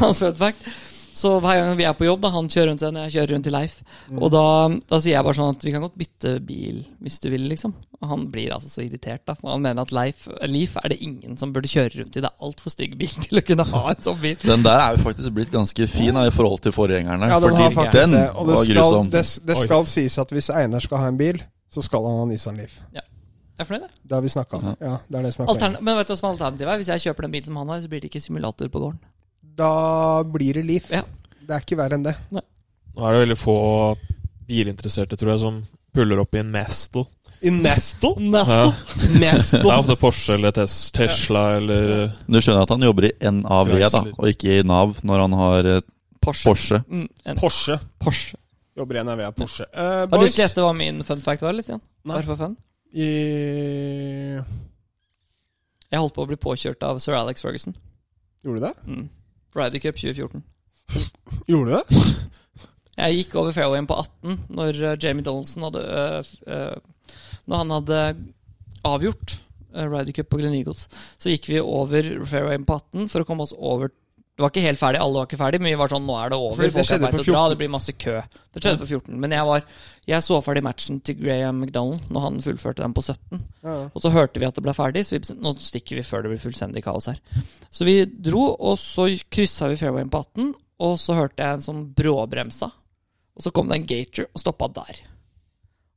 B: hans fun fact. Så hver gang vi er på jobb, da, han kjører rundt til henne, jeg kjører rundt til Leif. Og da, da sier jeg bare sånn at vi kan godt bytte bil hvis du vil, liksom. Og han blir altså så irritert, da. for Han mener at Leif, Leaf er det ingen som burde kjøre rundt i. Det er altfor stygg bil til å kunne ha en sånn bil.
C: Den der er jo faktisk blitt ganske fin da, i forhold til forgjengerne.
A: Ja, den har
C: fordi
A: faktisk
C: den
A: det. Og det
C: var
A: skal,
C: grusom.
A: det, det
D: Oi.
A: skal sies at hvis Einar skal ha en bil, så skal han ha Nissan Leaf.
B: Jeg er fornøyd, jeg.
A: Det har vi snakka om. Ja, det er det som er poenget.
B: Altern- Men vet du hva som er alternativet er? Hvis jeg kjøper den bilen som han har, så blir det ikke simulator på gården.
A: Da blir det Leaf.
B: Ja.
A: Det er ikke verre enn det.
D: Nå er det veldig få bilinteresserte, tror jeg, som puller opp i en Mastel.
A: I Nesto?
D: Ja.
B: Nesto.
D: Det er
A: Nesto.
D: ofte Porsche eller Tes Tesla eller eh,
C: Du skjønner at han jobber i NAV, da,
D: Chrysler.
C: og ikke i Nav, når han har eh,
B: Porsche.
C: Porsche.
B: Mm, en
A: Porsche.
B: Porsche.
A: Jobber i NRV av Porsche. Eh,
B: Har du lyst til å gjette hva min fun fact var? eller, Stian?
A: Nei.
B: Bare for fun.
A: I
B: Jeg holdt på å bli påkjørt av sir Alex Ferguson.
A: Gjorde du det?
B: Mm. Ryder Cup 2014.
A: Gjorde du det?
B: Jeg gikk over fairwayen på 18 når eh, Jamie Donaldson hadde eh, f- eh, Når han hadde avgjort uh, Ryder Cup på Glen Eagles, så gikk vi over fairwayen på 18 for å komme oss over Det var ikke helt ferdig, alle var ikke ferdig, men vi var sånn Nå er det over,
A: Fordi det
B: folk er
A: skjedde
B: på vei
A: på
B: til å dra,
A: 14.
B: det blir masse kø. Det skjedde på 14. Men jeg var Jeg så ferdig matchen til Graham McDonald når han fullførte den på 17.
A: Ja. ja.
B: Og så hørte vi at det ble ferdig, så vi bestemte nå stikker vi før det blir fullstendig kaos her. Så vi dro, og så kryssa vi fairwayen på 18, og så hørte jeg en sånn bråbremsa. Og så kom det en gater og stoppa der.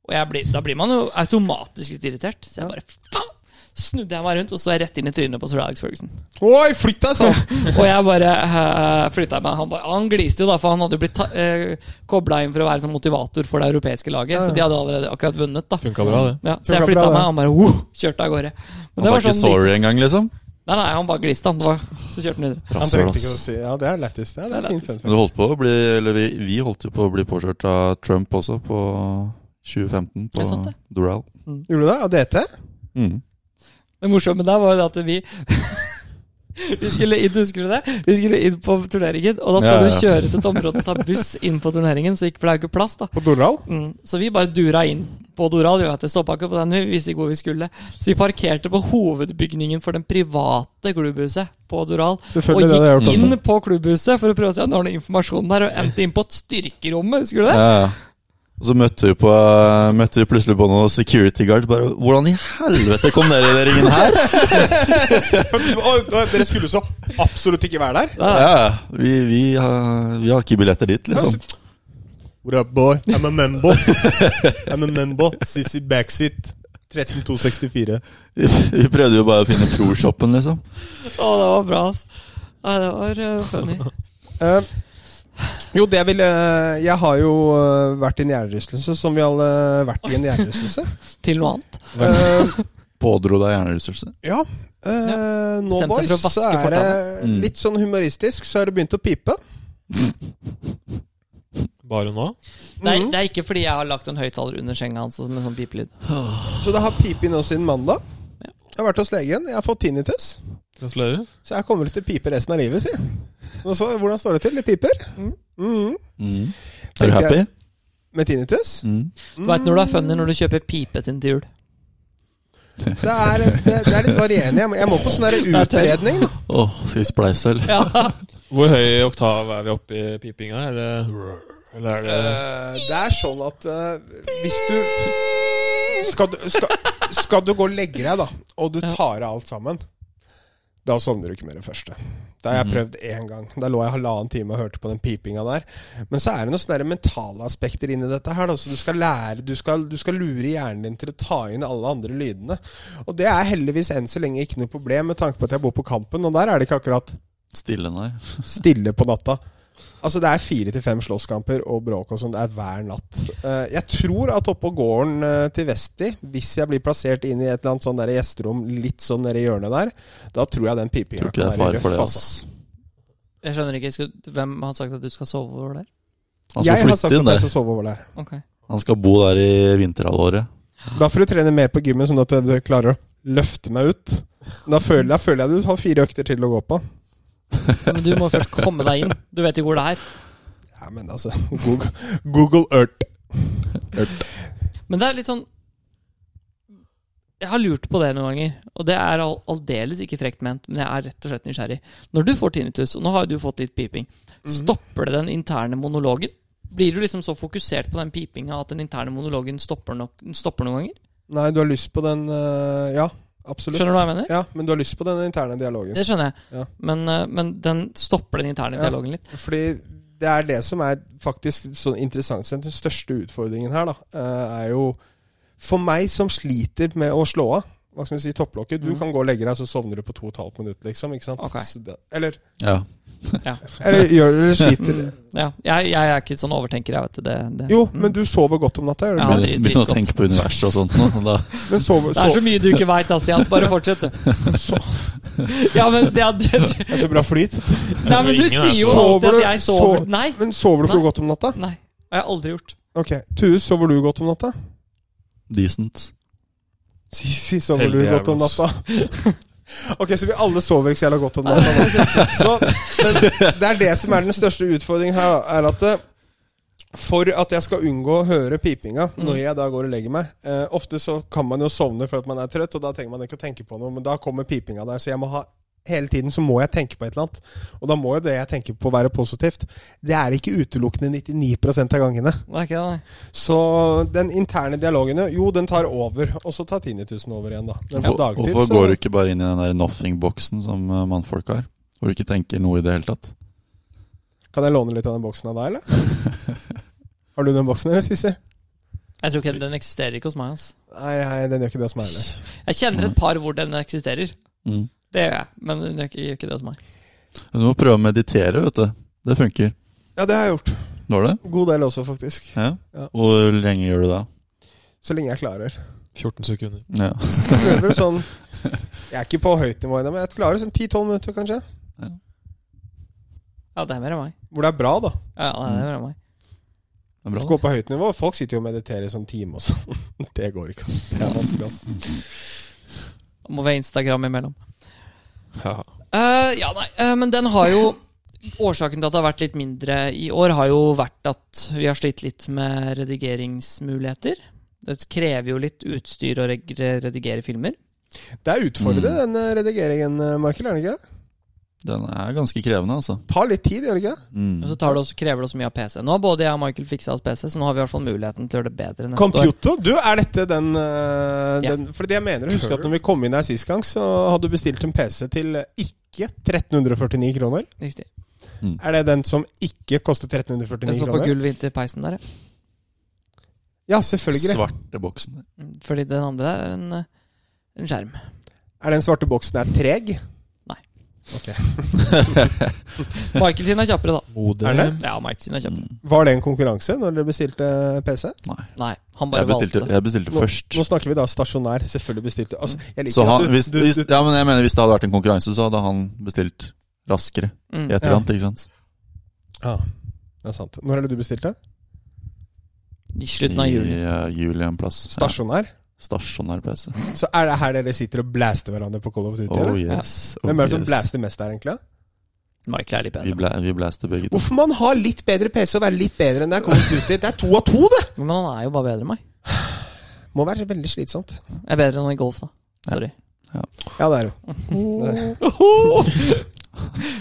B: Og jeg blir, da blir man jo automatisk litt irritert. Så jeg bare faen! snudde jeg meg rundt, og så er jeg rett inn i trynet på sir Alex Ferguson.
A: Oi, flytt deg, sa han!
B: Og jeg bare uh, flytta meg. Han, bare, han gliste jo, da, for han hadde jo blitt uh, kobla inn for å være som motivator for det europeiske laget. Så de hadde allerede akkurat vunnet, da.
D: Funka bra, det.
B: Ja, så jeg
A: Funka
B: flytta
A: bra,
B: meg,
A: det.
B: han bare uh, kjørte av gårde. Men
C: Han sa ikke
B: drit-
C: sorry engang, liksom?
B: Nei, nei, han bare gliste, han. Det var, så kjørte han videre.
A: Han
C: Rasshøl,
A: trengte ikke å
C: ass.
A: si Ja, det er lettest. Ja, det er
B: Det er
A: fint, fint,
C: Men
A: fint.
C: du holdt på å bli Eller vi, vi holdt jo på å bli påkjørt av Trump også, på 2015,
B: Det
C: på
B: er sant, det.
C: Doral.
A: Gjorde du det? Av DT?
C: Mm.
B: Det morsomme der var jo det at vi Vi skulle inn, husker du det? Vi skulle inn på turneringen, og da skal
C: Ja, ja.
B: du kjøre til et område og ta buss inn på turneringen, så ikke for det er jo ikke plass, da.
A: På Doral?
B: Mm. Så vi bare dura inn på Doral. Vi vet det, stoppa ikke på den, vi visste ikke hvor vi skulle. Så vi parkerte på hovedbygningen for den private klubbhuset på Doral. Og
A: Selvfølgelig. det hadde jeg gjort
B: gikk
A: også.
B: inn på klubbhuset for å prøve å se om det var noe informasjon der, og endte inn på et styrkerom, husker du det?
C: Ja, ja. Og så møtte vi, på, eh, møtte vi plutselig på noen security guards. Bare, Hvordan i helvete kom dere i den ringen her?
A: Å, Dere skulle så absolutt ikke være der.
C: Ja, ja. vi, vi, har, vi har ikke billetter dit, liksom.
A: What up, boy? I'm a membo. I'm a membo. Sissy backseat. 13264.
C: Vi prøvde jo bare å finne Proshoppen, liksom.
B: Å, det var bra, ass. Nei, det var eh, funny.
A: Eh, jo, det vil eh, Jeg har jo eh, vært i en hjernerystelse, som vi alle har vært i en hjernerystelse.
B: Til noe annet.
A: Eh,
C: Pådro deg hjernerystelse.
A: ja. eh, nå,
B: Bestemte seg
A: boys,
B: for å
A: så
B: vaske
A: er det
C: Mm.
A: litt sånn humoristisk, så er det begynt å pipe.
D: Bare nå?
B: Det er,
A: Mhm.
B: det er ikke fordi jeg har lagt en høyttaler under senga hans som en sånn pipelyd.
A: Så det har pipet nå siden mandag. Jeg har vært hos legen. Jeg har fått tinnitus.
D: Gratulerer.
A: Så jeg kommer til å pipe resten av livet, si. Og så, hvordan står det til? Det piper. Mhm.
C: Mm. Er du happy?
A: Med tinnitus.
C: Mm.
B: Du vet når du er funny når du kjøper pipe til til jul.
A: Det er, det, det er litt varierende. Jeg må, jeg må på sånn der utredning. Da.
C: Åh, skal vi spleise, eller?
B: Ja.
D: Hvor høy oktav er vi oppe i pipinga? Er det Eller er det
A: Eh, Det er sånn at eh, hvis du skal, du skal, skal du gå og legge deg, da, og du tar av alt sammen, da sovner du ikke med det første. Det har jeg prøvd én gang. Da lå jeg halvannen time og hørte på den pipinga der. Men så er det noen sånne der mentale aspekter inni dette her. da. Så du skal lære, du skal, du skal lure hjernen din til å ta inn alle andre lydene. Og det er heldigvis enn så lenge ikke noe problem, med tanke på at jeg bor på Kampen, og der er det ikke akkurat
C: Stille, nei.
A: stille på natta. Altså Det er fire til fem slåsskamper og bråk og sånn. Det er hver natt. Eh, Jeg tror at oppå gården eh, til Vesti, hvis jeg blir plassert inn i et eller annet sånn der gjesterom litt sånn nede i hjørnet der, da tror jeg den
C: Tror
A: pipinga
C: ikke det er fare for det, ass.
A: altså.
B: Jeg skjønner ikke skal, hvem har sagt at du skal sove over der.
C: Han
A: Jeg
C: skal
A: har sagt
C: flytte Altså, inn
A: at jeg
C: der.
A: skal sove over der.
B: Ok
C: Han skal bo der i vinterhalvåret.
A: Da får du trene mer på gymmen, sånn at du klarer å løfte meg ut. Da føler, da føler jeg du har fire økter til å gå på.
B: Men du må først komme deg inn. Du vet ikke hvor det er.
A: Ja, men altså Google, Google Earth.
B: Men det er litt sånn Jeg har lurt på det noen ganger, og det er al- aldeles ikke frekt ment, men jeg er rett og slett nysgjerrig. Når du får tinnitus, og nå har jo du fått litt piping,
A: Mhm.
B: stopper det den interne monologen? Blir du liksom så fokusert på den pipinga at den interne monologen stopper, nok, stopper noen ganger?
A: Nei, du har lyst på den eh, Ja, absolutt.
B: Skjønner du hva jeg mener?
A: Ja, Men du har lyst på den interne dialogen.
B: Det skjønner jeg.
A: Ja.
B: Men, eh, men den stopper den interne
A: Ja.
B: dialogen litt.
A: Fordi det er det som er faktisk sånn interessant. Den største utfordringen her da, eh, er jo For meg som sliter med å slå av hva skal vi si, topplokket. Du
B: Mhm.
A: kan gå og legge deg, så sovner du på to og et halvt minutt. liksom, ikke sant?
B: Ok.
A: Så det, eller,
C: Ja.
A: eller gjør du det sliter
B: Ja, jeg, jeg er ikke sånn overtenker, jeg, vet du. Det, det.
A: Jo,
B: Mm.
A: men du sover godt om natta, gjør du
B: Ja,
A: ikke?
B: drit-
C: Begynte å
B: dritgodt.
C: tenke på universet og sånt nå. Da.
A: Men sover,
B: Det er
A: sover,
B: så mye du ikke veit, Stian. Bare fortsett, du. Ja, men Stian, du, du,
A: det er så bra flyt.
B: nei, men du
D: Ingen er
B: sier jo
A: sånn.
B: alltid at jeg
A: Sover du-
B: sover Nei.
A: Men sover du ikke godt om natta?
B: nei, Det har jeg aldri gjort.
A: Ok, Tue, sover du godt om natta?
C: Decent.
A: Sisi, sover sånn du
D: Heldig
A: godt om
D: jævel, ass.
A: natta? Ok, så vi alle sover ikke så jævla godt om natta. nå. Så men Det er det som er den største utfordringen her, da, er at eh, for at jeg skal unngå å høre pipinga når jeg da går og legger meg eh, Ofte så kan man jo sovne for at man er trøtt, og da trenger man ikke å tenke på noe, men da kommer pipinga der, så jeg må ha Hele tiden så må jeg tenke på et eller annet. Og da må jo det jeg tenker på, være positivt. Det er det ikke utelukkende 99 av gangene.
B: Det er ikke det, nei.
A: Så den interne dialogen, jo, den tar over. Og så tar tinnitusen over igjen, da. Men på
C: Hvor-
A: dagtid,
C: Hvorfor
A: så-
C: går du ikke bare inn i den der nothing-boksen som eh, mannfolk har? Hvor du ikke tenker noe i det hele tatt?
A: Kan jeg låne litt av den boksen av deg, eller? Har du den boksen, eller, Sissi?
B: Jeg tror ikke den eksisterer ikke hos meg. ass.
A: Nei, nei, den gjør ikke det hos meg heller.
B: Jeg kjenner et par hvor den eksisterer.
C: Mm.
B: Det gjør jeg, men den gjør ikke, gjør ikke det hos meg.
C: Du må prøve å meditere, vet du. Det funker.
A: Ja, det har jeg gjort.
C: Var det?
A: God del også, faktisk.
C: Ja.
A: Ja.
C: Hvor lenge gjør du det?
A: Så lenge jeg klarer.
D: 14 sekunder.
C: Ja.
A: Jeg prøver sånn Jeg er ikke på høyt nivå ennå, men jeg klarer sånn 10-12 minutter, kanskje.
B: Ja, det er mer enn meg.
A: Hvor det er bra, da.
B: Ja, det er mer enn meg.
C: Det
A: Hvis
C: er
A: du
C: bra.
A: går på høyt nivå Folk sitter jo og mediterer i sånn time og sånn. Det går ikke, ass. Det er vanskelig, ass.
B: Må være Instagram imellom.
D: Ja.
B: Eh, ja, nei, eh, men den har jo Årsaken til at det har vært litt mindre i år, har jo vært at vi har slitt litt med redigeringsmuligheter. Det krever jo litt utstyr å reg- redigere filmer.
A: Det er utfordrende,
C: Mm.
A: den eh, redigeringen, eh, Michael. Er det ikke? det?
C: Den er ganske krevende, altså.
A: Tar litt tid, gjør det ikke? det?
C: Mm.
B: Og så tar det også, krever det også mye av PC. Nå har både jeg og Michael fiksa oss PC, så nå har vi i hvert fall muligheten til å gjøre det bedre neste år.
A: Computo, du, er dette den, eh,
B: Ja.
A: den Fordi jeg mener å huske at når vi kom inn her sist gang, så hadde du bestilt en PC til eh, ikke 1349 kroner.
B: Riktig.
C: Mm.
A: Er det den som ikke koster 1349
B: Den så på
A: kroner?
B: gulvet inntil peisen der, ja.
A: Ja, selvfølgelig.
C: Svarte boksen.
B: Fordi den andre er en, eh, en skjerm.
A: Er den svarte boksen her treg?
B: Michael sin er kjappere, da.
A: Er det?
D: Modem.
B: Ja, Michael sin er kjappere.
C: Mm.
A: Var det en konkurranse når dere bestilte PC?
B: Nei, han bare
C: Jeg bestilte,
B: valgte.
C: jeg bestilte først.
A: Nå snakker vi da stasjonær. Selvfølgelig bestilte altså, jeg liker
C: Så han,
A: at du,
C: hvis,
A: du,
C: hvis,
A: du,
C: ja, men jeg mener hvis det hadde vært en konkurranse, så hadde han bestilt raskere
B: Mm.
C: i etterkant. ikke sant?
A: Ja, det er sant. Når er det du bestilte?
B: I slutten av juli.
C: I eh, juli en plass. Ja,
A: Stasjonær?
C: stasjonær PC.
A: Så er det her dere sitter og blaster hverandre på Call of Duty?
C: Oh
A: eller?
C: yes. Oh,
A: Hvem er det som
C: yes.
A: blaster mest der, egentlig?
B: Michael er litt
C: Vi,
B: bedre.
C: bla, vi blaster begge to.
A: Hvorfor man har litt bedre PC og være litt bedre enn det er Call of Duty? Det er to av to, det!
B: Men han er jo bare bedre enn meg.
A: Må være veldig slitsomt.
B: Jeg er bedre enn han i golf, da. Sorry.
A: Ja, det er jo.
B: Nei,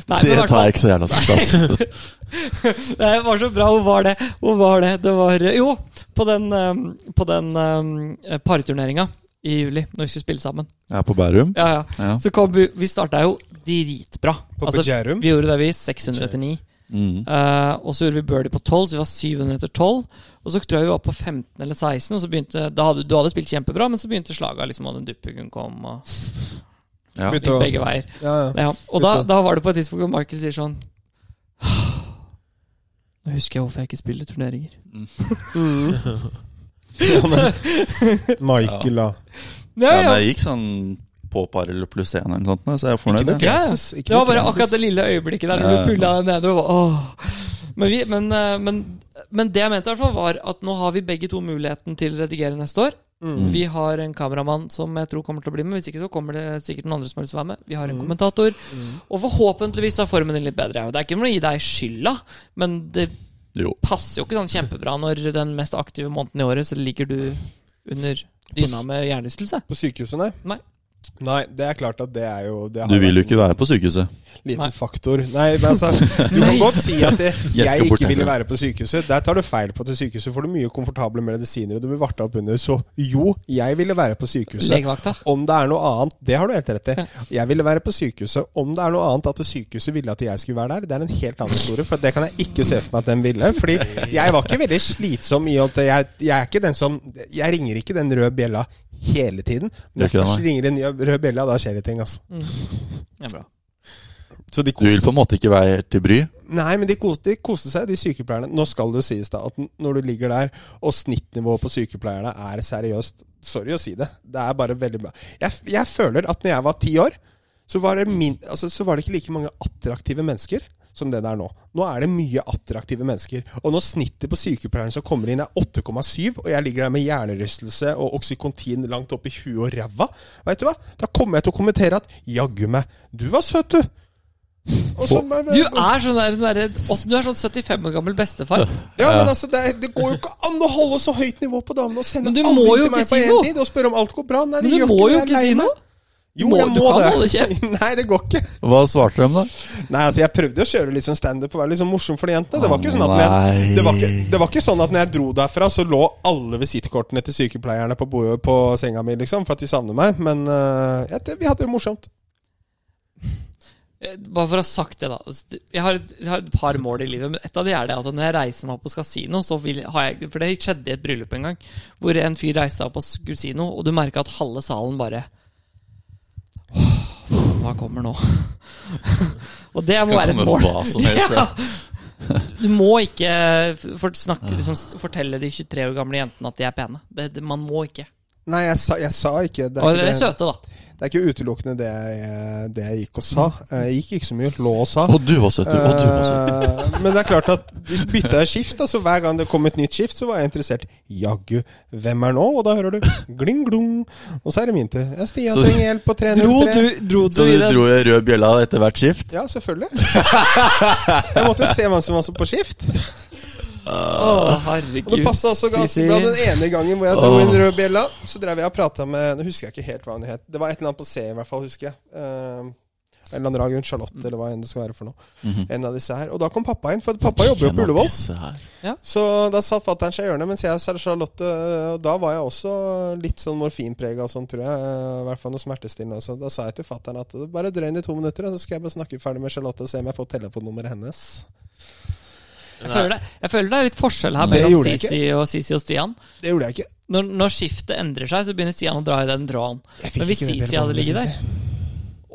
B: men i
C: Det
B: hvert
C: tar
B: fall,
C: jeg ikke så jævla til plass.
B: det var så bra. Hvor var det? Hvor var det? Det var eh, Jo, på den, eh, på den eh, parturneringa i juli, når vi skulle spille sammen.
C: Jeg er på Bærum.
B: Ja, ja.
C: Ja.
B: Så kom vi Vi starta jo dritbra.
A: På
B: Altså,
A: Bejerum.
B: vi gjorde det, vi. 609.
C: Mm.
B: Eh, og så gjorde vi birdie på 12, så vi var 700 etter 12. Og så tror jeg vi var på 15 eller 16, og så begynte da hadde, Du hadde spilt kjempebra, men så begynte slaga, liksom, og den duppingen kom, og
C: Ja.
B: gikk begge veier.
A: Ja, ja.
B: Ja, og da,
A: Ute.
B: da var det på et tidspunkt hvor Michael sier sånn Nå husker jeg hvorfor jeg ikke spiller turneringer.
A: ja, men Michael, da.
B: Ja,
C: Ja, men
B: ja.
C: jeg gikk sånn på par eller pluss én eller noe sånt, så jeg er
A: Ikke
C: fornøyd.
A: noe
C: jeg.
A: glasses. Ikke
B: Det var
A: noe
B: bare
A: glasses.
B: akkurat det lille øyeblikket der
C: Ja,
B: når
C: ja.
B: du pulla den ned. Og, bare, åh. Men, vi, men, eh, men, men det jeg mente, i hvert fall var at nå har vi begge to muligheten til å redigere neste år.
A: Mm.
B: Vi har en kameramann som jeg tror kommer til å bli med. Hvis ikke så kommer det sikkert noen andre som har lyst til å være med. Vi har en kommentator. Og forhåpentligvis er formen din litt bedre. Det er ikke for å gi deg skylda, men det
C: Jo.
B: passer jo ikke sånn kjempebra når den mest aktive måneden i året, så ligger du under dyna med hjernerystelse.
A: På sykehuset, nei?
B: Nei.
A: Nei, det er klart at det er jo det har
C: Du vil jo
A: vært
C: ikke være på sykehuset.
A: en Liten
B: Nei.
A: faktor. Nei, men altså, du kan
B: Nei.
A: godt si at det,
C: Jeg skal
A: jeg
C: bort
A: ikke ville
C: herfra.
A: være på sykehuset. Der tar du feil på at til sykehuset får du mye komfortable medisiner, og du blir varta opp under. Så jo, jeg ville være på sykehuset.
B: Legevakta.
A: Om det er noe annet, det har du helt rett i. Jeg ville være på sykehuset. Om det er noe annet at det sykehuset ville at jeg skulle være der, det er en helt annen historie. For det kan jeg ikke se for meg at den ville. Fordi jeg var ikke veldig slitsom i at jeg, jeg er ikke den som Jeg ringer ikke den røde bjella hele tiden. Men
C: Det er
A: når
C: ikke
A: jeg
C: det,
A: først ringer en rød bjella, da skjer det ting, altså.
B: Ja, bra.
A: Så de
C: Du vil på en måte ikke være til bry.
A: Nei, men de koste, de koste seg, de sykepleierne. Nå skal det jo sies da at n- når du ligger der, og snittnivået på sykepleierne er seriøst Sorry å si det. Det er bare veldig bra. Jeg, f- jeg føler at når jeg var ti år, så var, det min, altså, så var det ikke like mange attraktive mennesker som det det er nå. Nå er det mye attraktive mennesker. Og når snittet på sykepleieren som kommer inn, er 8,7, og jeg ligger der med hjernerystelse og oksykontin langt opp i huet og ræva, vet du hva? Da kommer jeg til å kommentere at jaggu meg, du var søt, du. Og så bare-
B: Du er sånn der, sånn der åt- Du er sånn 75 år gammel bestefar.
A: Ja, men altså, det, er- det går jo ikke an å holde så høyt nivå på damene og sende
B: Men du
A: alle
B: må
A: inn
B: jo
A: til meg
B: ikke
A: på
B: si
A: én
B: noe.
A: tid og spørre om alt går bra. Nei,
B: Men
A: det
B: du
A: gjør
B: må
A: ikke det,
B: jo
A: jeg er
B: ikke si
A: lei meg.
B: noe!
A: Jo,
B: Må-
A: jeg
B: du
A: må
B: kan
A: det.
B: holde kjeft.
A: Nei, det går ikke.
C: Hva svarte de, da?
A: Nei, altså, Jeg prøvde å kjøre litt sånn standup og være litt sånn morsom for de jentene. Det var ikke sånn at når jeg,
C: Nei.
A: det var ikke, det var ikke sånn at når jeg dro derfra, så lå alle visittkortene til sykepleierne på, bordet, på senga mi, liksom, for at de savner meg. Men eh, jeg, vi hadde det morsomt.
B: eh, Bare for å ha sagt det, da. Altså, det- Jeg har, et- jeg har et par mål i livet, men et av de er det at når jeg reiser meg opp hos kasino så vil, har jeg, For det skjedde i et bryllup en gang, hvor en fyr reiste seg opp hos kasino, og du merka at halve salen bare «Åh, Hva kommer nå? og det må
C: Kan
B: være et
C: komme
B: mål.
C: hva som helst, det.
B: ja. Du må ikke for, snakke, liksom, fortelle de 23 år gamle jentene at de er pene. Det, det, man må ikke.
A: Nei, jeg sa, jeg sa ikke det.
B: Og
A: Er
B: dere er
A: ikke det,
B: søte, da.
A: det er ikke utelukkende det jeg, det jeg gikk og sa. Eh, Jeg gikk ikke så mye, lå og sa.
C: Å, du var søt, du. Å, du var søt.
A: Eh, Men det er klart at hvis bytta jeg skift, altså hver gang det kom et nytt skift, så var jeg interessert. Jaggu, hvem er nå? Og da hører du gling glung. Og så er det min tur. Jeg Stian
C: Så-
A: trenger hjelp på 303.
C: Så du dro i rød bjella etter hvert skift?
A: Ja, selvfølgelig. Jeg måtte jo se hvem som var på skift.
B: Å,
A: Og det
B: herregud.
A: passa også ganske
B: Sisi.
A: bra den ene gangen hvor jeg dro inn rød bjella. Så drev jeg og prata med Nå husker jeg ikke helt hva hun het. Det var et eller annet på C, i hvert fall, husker jeg. Eh, en eller annen dag, hun Charlotte, eller hva enn det skal være for noe.
C: Mhm.
A: En av disse her. Og da kom pappa inn, for pappa jobber jo på Ullevål. Så da satt fatter'n seg i hjørnet, mens jeg og Charlotte eh, Og da var jeg også litt sånn morfinprega og sånn, tror jeg. eh, I hvert fall noe smertestillende. Så da sa jeg til fatter'n at det bare drøyn i to minutter, og så skal jeg bare snakke ferdig med Charlotte og se om jeg får telefonnummeret hennes.
B: Jeg føler, det, jeg føler det er litt forskjell her
A: Det
B: mellom
A: gjorde jeg
B: Sisi og, Sisi og Stian.
A: Det gjorde jeg ikke.
B: Når, når skiftet endrer seg, så begynner Stian å dra i den tråden.
A: Jeg fikk
B: Men hvis
A: ikke den
B: Sisi
A: telefonen,
B: hadde ligget
A: Sisi.
B: der,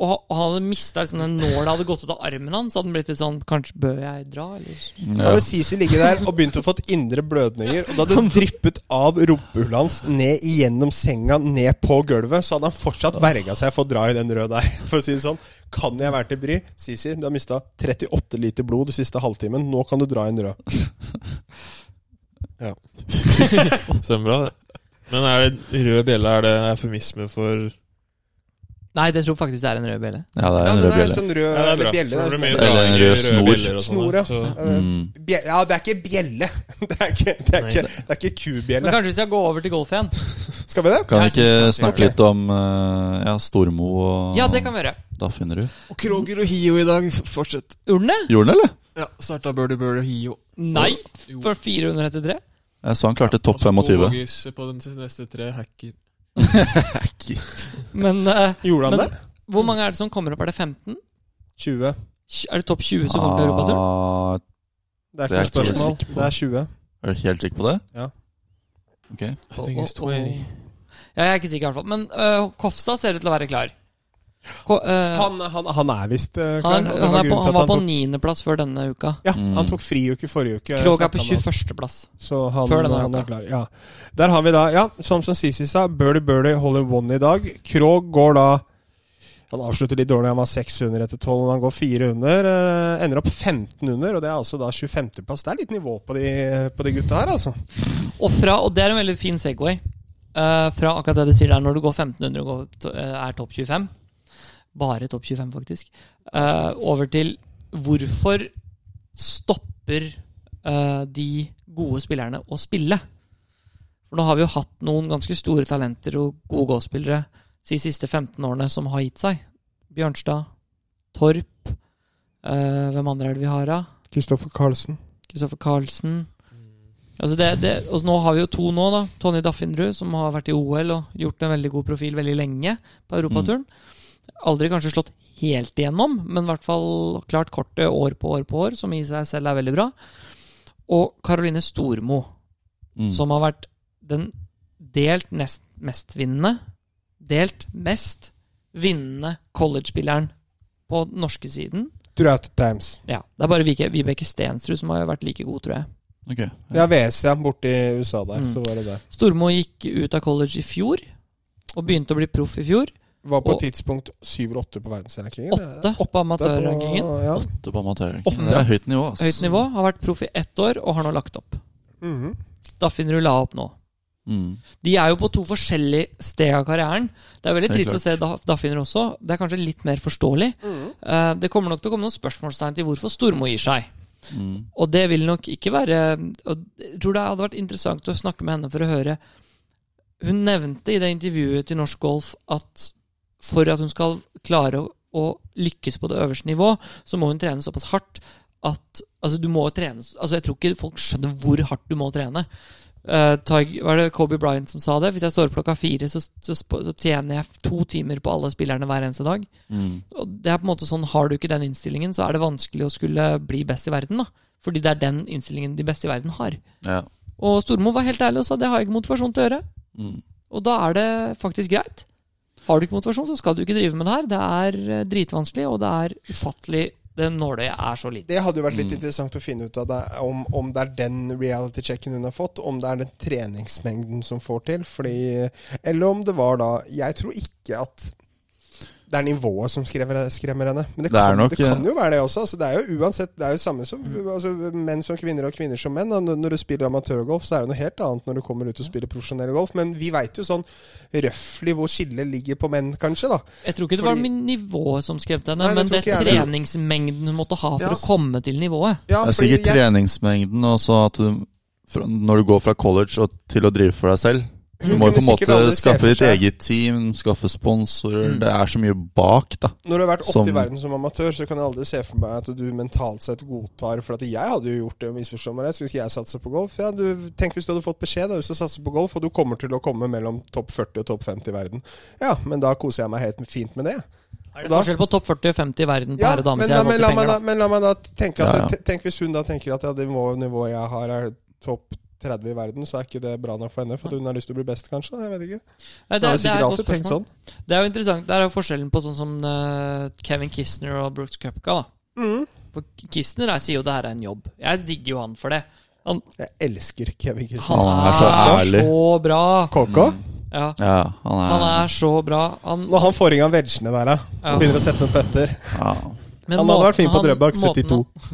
B: og, og han hadde mista liksom, den nåla hadde gått ut av armen hans, så hadde han blitt litt sånn Kanskje bør jeg dra, eller?
A: Da hadde Sisi ligget der og begynt å få indre blødninger. Og da hadde det dryppet av rumpehullet hans ned igjennom senga, ned på gulvet. Så hadde han fortsatt verga seg for å dra i den røde der. For å si det sånn. Kan jeg være til bry? Sisi, du har mista 38 liter blod den siste halvtimen. Nå kan du dra i en rød.
D: Stemmer bra, det. Men er det rød bjelle er det eufemisme for
B: Nei, det tror jeg faktisk det er en rød bjelle.
C: Ja, det er
A: Ja,
C: en
A: den
C: rød
A: er en
C: bjelle.
A: sånn rød
D: Ja, det er
A: eller
D: bra.
A: bjelle.
D: for det
A: det
D: blir mye
A: er
C: Eller en
D: draging i
C: rød
D: røde
C: snor.
D: bjeller
A: sånn.
D: og sånn,
A: Snor, ja.
D: så-
C: Mm.
A: Eh, bje- Ja, det er ikke bjelle. Det er ikke, det er ikke, det er ikke
B: Men
A: kubjelle.
B: kanskje vi skal gå over til golf igjen?
A: Skal vi det?
C: Kan vi
B: Jeg synes
C: ikke
B: det-
C: snakke litt om eh, ja, Stormo og
B: Ja, det kan vi gjøre.
C: Da finner du.
E: Og Kroger og Hio i dag. F- Fortsett.
B: Gjorde den det?
C: Gjorde han det, eller?
E: Ja, Starta Birdie Birdie og Hio.
B: Nei,
E: Jo.
B: for 433.
C: Jeg så han klarte topp
E: Og så
C: 25.
E: Bogers På den neste tre hacker.
B: Men eh,
A: Gjorde han
B: Men-
A: det?
B: hvor mange er det som kommer opp? Er det 15?
A: 20.
B: Tj- Er det topp 20 som kommer på europaturen?
C: Ah,
A: Det er
C: Det
A: ikke
C: er jeg
A: noe
C: ikke så
A: spørsmål.
C: sikker på.
A: Det er 20.
C: er du helt sikker på det?
A: Ja.
C: Ok.
D: I think it's
B: Åh, åh,
D: 20.
B: åh. Ja, jeg er ikke sikker, i hvert fall. Men øh, Kofstad ser ut til å være klar. Ko øh, han,
A: Han, han, han er visst eh, klar.
B: han,
A: og det var grunnen
B: er på,
A: til
B: han
A: at
B: var på
A: tok-
B: niendeplass før denne uka.
A: Ja,
C: Mm.
A: han tok friuke forrige uke.
B: Krog er på
A: snakket han om.
B: 21.-plass.
A: Så han, eh,
B: før denne
A: han
B: uka.
A: er klar. Ja. Der har vi da, ja, som, som Sisi sa, Birdie Birdie holder one i dag. Krog går da Han avslutter litt dårlig, han var 600 etter 12, men han går 4 under. eh, Ender opp 15 under, og det er altså da 25.-plass. Det er litt nivå på de, på de gutta her, altså.
B: Og, fra, og det er en veldig fin Segway. øh, fra akkurat det du sier der, når du går 1500 og går, to- øh, er topp 25 Bare topp 25, faktisk. øh, over til hvorfor stopper øh, de gode spillerne å spille? For nå har vi jo hatt noen ganske store talenter og gode golfspillere de siste 15 årene som har gitt seg. Bjørnstad, Torp øh, Hvem andre er det vi har av?
A: Kristoffer Carlsen.
B: Kristoffer Carlsen. Altså det, det, og nå har vi jo to nå, da. Tony Daffinrud, som har vært i OL og gjort en veldig god profil veldig lenge på europaturen. Aldri kanskje slått helt igjennom, men i hvert fall klart kortet år på år på år, som i seg selv er veldig bra. Og Karoline Stormo,
C: Mm.
B: som har vært den delt nest mest vinnende Delt mest vinnende college-spilleren på den norske siden.
A: Throughout the times.
B: Ja, Det er bare Vike- Vibeke Stensrud som har vært like god, tror jeg.
C: Ok.
A: Ja, VS, ja. Borti USA der,
B: Mm.
A: så var det det.
B: Stormo gikk ut av college i fjor, og begynte å bli proff i fjor.
A: Var på
B: Og-
A: et tidspunkt 7 eller 8 på verdensrankingen.
B: Åtte på amatørrankingen.
A: Ja.
C: Åtte på amatører.
A: Åtte.
C: Det er høyt nivå, ass.
B: Høyt nivå. Har vært proff i ett år, og har nå lagt opp.
A: Mhm.
B: Daffinrud la opp nå.
C: Mm.
B: De er jo på to forskjellige steg av karrieren. Det er veldig trist
C: Helt klart.
B: å se Da- Daffinrud også. Det er kanskje litt mer forståelig. Eh, Det kommer nok til å komme noen spørsmålstegn til hvorfor Stormo gir seg.
C: Mm.
B: Og det vil nok ikke være og Jeg tror det hadde vært interessant å snakke med henne for å høre Hun nevnte i det intervjuet til Norsk Golf at for at hun skal klare å, å lykkes på det øverste nivå, så må hun trene såpass hardt at Altså, du må jo trene Altså, jeg tror ikke folk skjønner hvor hardt du må trene eh, Tig- var det Kobe Bryant som sa det? Hvis jeg står opp klokka fire, så, så, sp- så tjener jeg to timer på alle spillerne hver eneste dag.
C: Mm.
B: Og det er på en måte sånn, Har du ikke den innstillingen, så er det vanskelig å skulle bli best i verden. da Fordi det er den innstillingen de beste i verden har.
C: Ja.
B: Og Stormo var helt ærlig og sa det har jeg ikke motivasjon til å gjøre.
C: Mm.
B: Og da er det faktisk greit. Har du ikke motivasjon, så skal du ikke drive med det her. Det er eh, dritvanskelig, og det er ufattelig Det nåløyet er så lite.
A: Det hadde jo vært litt
C: Mm.
A: interessant å finne ut av det, om, om det er den reality-checken hun har fått, om det er den treningsmengden som får til, fordi Eller om det var da Jeg tror ikke at det er nivået som skremmer, skremmer henne. Men det
C: Det er
A: kan, det,
C: nok, eh,
A: kan jo være det også. Altså, det er jo uansett Det er jo samme som altså, menn som kvinner og kvinner som menn. Og Når du spiller amatørgolf, så er det noe helt annet når du kommer ut og spiller profesjonell golf. Men vi veit jo sånn røftlig hvor skillet ligger på menn, kanskje. da
B: Jeg tror ikke det
A: Fordi-
B: var min nivå som skremte henne,
A: Nei, det
B: men
A: tror
B: det
A: ikke jeg heller.
B: treningsmengden hun måtte ha for
A: Ja,
B: å
A: ass.
B: komme til nivået.
A: Ja,
C: Det er
A: fordi
C: sikkert treningsmengden, og så at du fra- Når du går fra college og til å drive for deg selv Du
A: Hun
C: må jo på
A: kunne Mm,
C: en
A: sikkert aldri
C: måte
A: se
C: skaffe
A: for
C: ditt
A: seg-
C: eget team, skaffe sponsorer
B: Mm.
C: Det er så mye bak, da.
A: Når du har vært oppe
C: Som-
A: i verden som amatør, så kan jeg aldri se for meg at du mentalt sett godtar For at jeg hadde jo gjort det, misforstå meg rett. Skulle ikke jeg satse på golf? Ja, du, tenk hvis du hadde fått beskjed da, du skal satse på golf, og du kommer til å komme mellom topp 40 og topp 50 i verden. Ja, men da koser jeg meg helt fint med det.
B: Er det
A: Da-
B: forskjell på topp 40 og 50 i verden på
A: Ja,
B: herre- og
A: men, la,
B: damesida?
A: men, la meg da, men la meg da tenke at
C: Ja, ja.
A: te- Tenk hvis hun da tenker at ja, det nivå- nivået jeg har, er topp 30 i verden, så er ikke det bra nok for henne. For at hun har lyst til å bli best, kanskje? Jeg vet ikke. Hun
B: Nei, det,
A: har
B: er- det er
A: sikkert
B: et godt
A: alltid tenkt
B: spørsmål.
A: sånn.
B: Det er jo interessant. Der er jo forskjellen på sånn som eh, Kevin Kistner og Brooks Cupka. da
A: Mm.
B: For Kistner er, sier jo det her er en jobb. Jeg digger jo han for det. Han,
A: Jeg elsker Kevin Kristiansen.
B: han
C: Han er
B: er
C: så
B: så
C: ærlig.
B: bra!
A: Kåkå?
B: Ja,
C: Ja, han er,
B: han er så bra. Han,
A: Når han får i gang vegene der, da.
B: Ja.
A: Og begynner å sette noen putter.
C: ja.
B: men
A: han hadde vært fin på
B: måten han-
A: Drøbak,
B: måten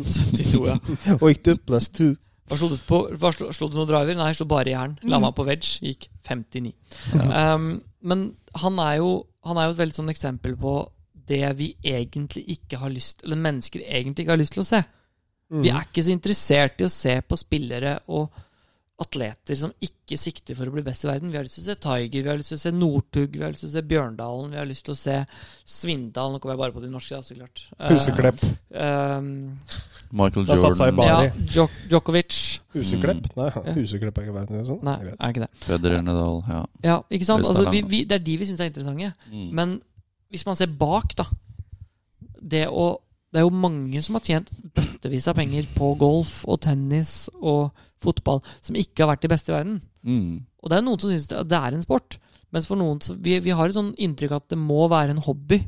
A: 72.
B: han- 72, ja.
A: Og gikk du pluss to?
B: Hva slo du på? Hva slo, slo du noen driver? Nei, jeg slo bare jern.
A: Mm.
B: Lamma på wedge. Gikk 59. Um, men han er, jo, han er jo et veldig sånn eksempel på det vi egentlig ikke har lyst Eller mennesker egentlig ikke har lyst til å se. Vi
A: Mm.
B: er ikke så interessert i å se på spillere og atleter som ikke sikter for å bli best i verden. Vi har lyst til å se Tiger, vi har lyst til å se Northug, vi har lyst til å se Bjørndalen, vi har lyst til å se Svindal. Nå kommer jeg bare på de norske, da, så klart. Eh,
A: Huseklepp.
B: ehm,
C: Michael
A: Da satsa jeg
C: Jordan,
A: bare-
B: ja,
A: Bali.
B: Djok Djokovic.
A: Huseklepp? Nei,
B: Ja.
A: Huseklepp er ikke verden. Sånn.
B: Nei,
A: Greit.
B: er ikke det.
C: Federer Nadal ja.
B: Ja, ikke sant?
C: Øystein
B: Altså, vi,
C: Langholm.
B: vi, det er de vi syns er interessante.
C: Mm.
B: Men hvis man ser bak, da Det, å, det er jo mange som har tjent bøttevis av penger på golf og tennis og fotball, som ikke har vært de beste i verden.
C: Mm.
B: Og det er noen som syns det, det er en sport. Mens for noen så, vi, vi har et sånn inntrykk at det må være en hobby.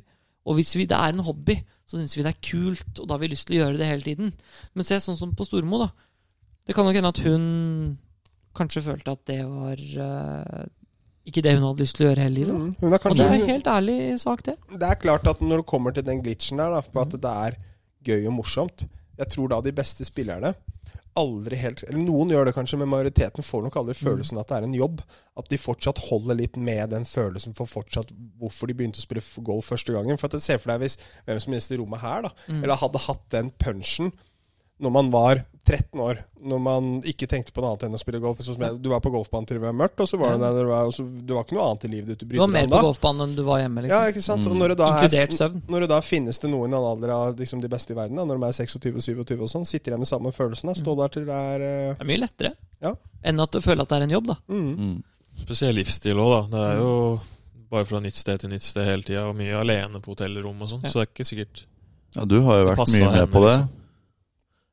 B: Og hvis vi, det er en hobby, så syns vi det er kult, og da har vi lyst til å gjøre det hele tiden. Men se sånn som på Stormo, da. Det kan nok hende at hun kanskje følte at det var eh, ikke det hun hadde lyst til å gjøre hele livet. da.
A: Mm. Hun er
B: Og det
A: kanskje,
B: er en helt ærlig sak, det.
A: det er klart at når du kommer til den glitchen der, da, på at det er gøy og morsomt Jeg tror da de beste spillerne aldri helt Eller noen gjør det kanskje, men majoriteten får nok aldri følelsen at det er en jobb. At de fortsatt holder litt med den følelsen for fortsatt hvorfor de begynte å spille f- golf første gangen. For at Se for deg hvis hvem som helst i rommet her, da,
B: Mm.
A: eller hadde hatt den punchen når man var 13 år, når man ikke tenkte på noe annet enn å spille golf. Sånn som jeg, du var på golfbanen til det var mørkt, og så var du der, det var, og så, det var ikke noe annet i livet ditt du
B: Du
A: brydde
B: var
A: deg
B: mer
A: om
B: på
A: da.
B: golfbanen enn du var hjemme,
A: Ja,
B: liksom.
A: ikke sant? Og når det da er,
B: Inkludert søvn.
A: Når det da finnes det noen i en alder av liksom, de beste i verden, da, når de er 26 og 27 og sånn, sitter igjen med samme følelsen. Da.
B: Mm.
A: Stå der til det er eh,
B: Det er mye lettere
A: Ja.
B: enn at du føler at det er en jobb, da.
A: mm.
C: Mm.
D: Spesiell livsstil òg, da. Det er jo bare fra nytt sted til nytt sted hele tida, og mye alene på hotellrom og sånn,
B: Ja.
D: så det er ikke sikkert
C: ja, du har jo vært
D: passet
C: mye med
D: henne,
C: på det.
D: liksom.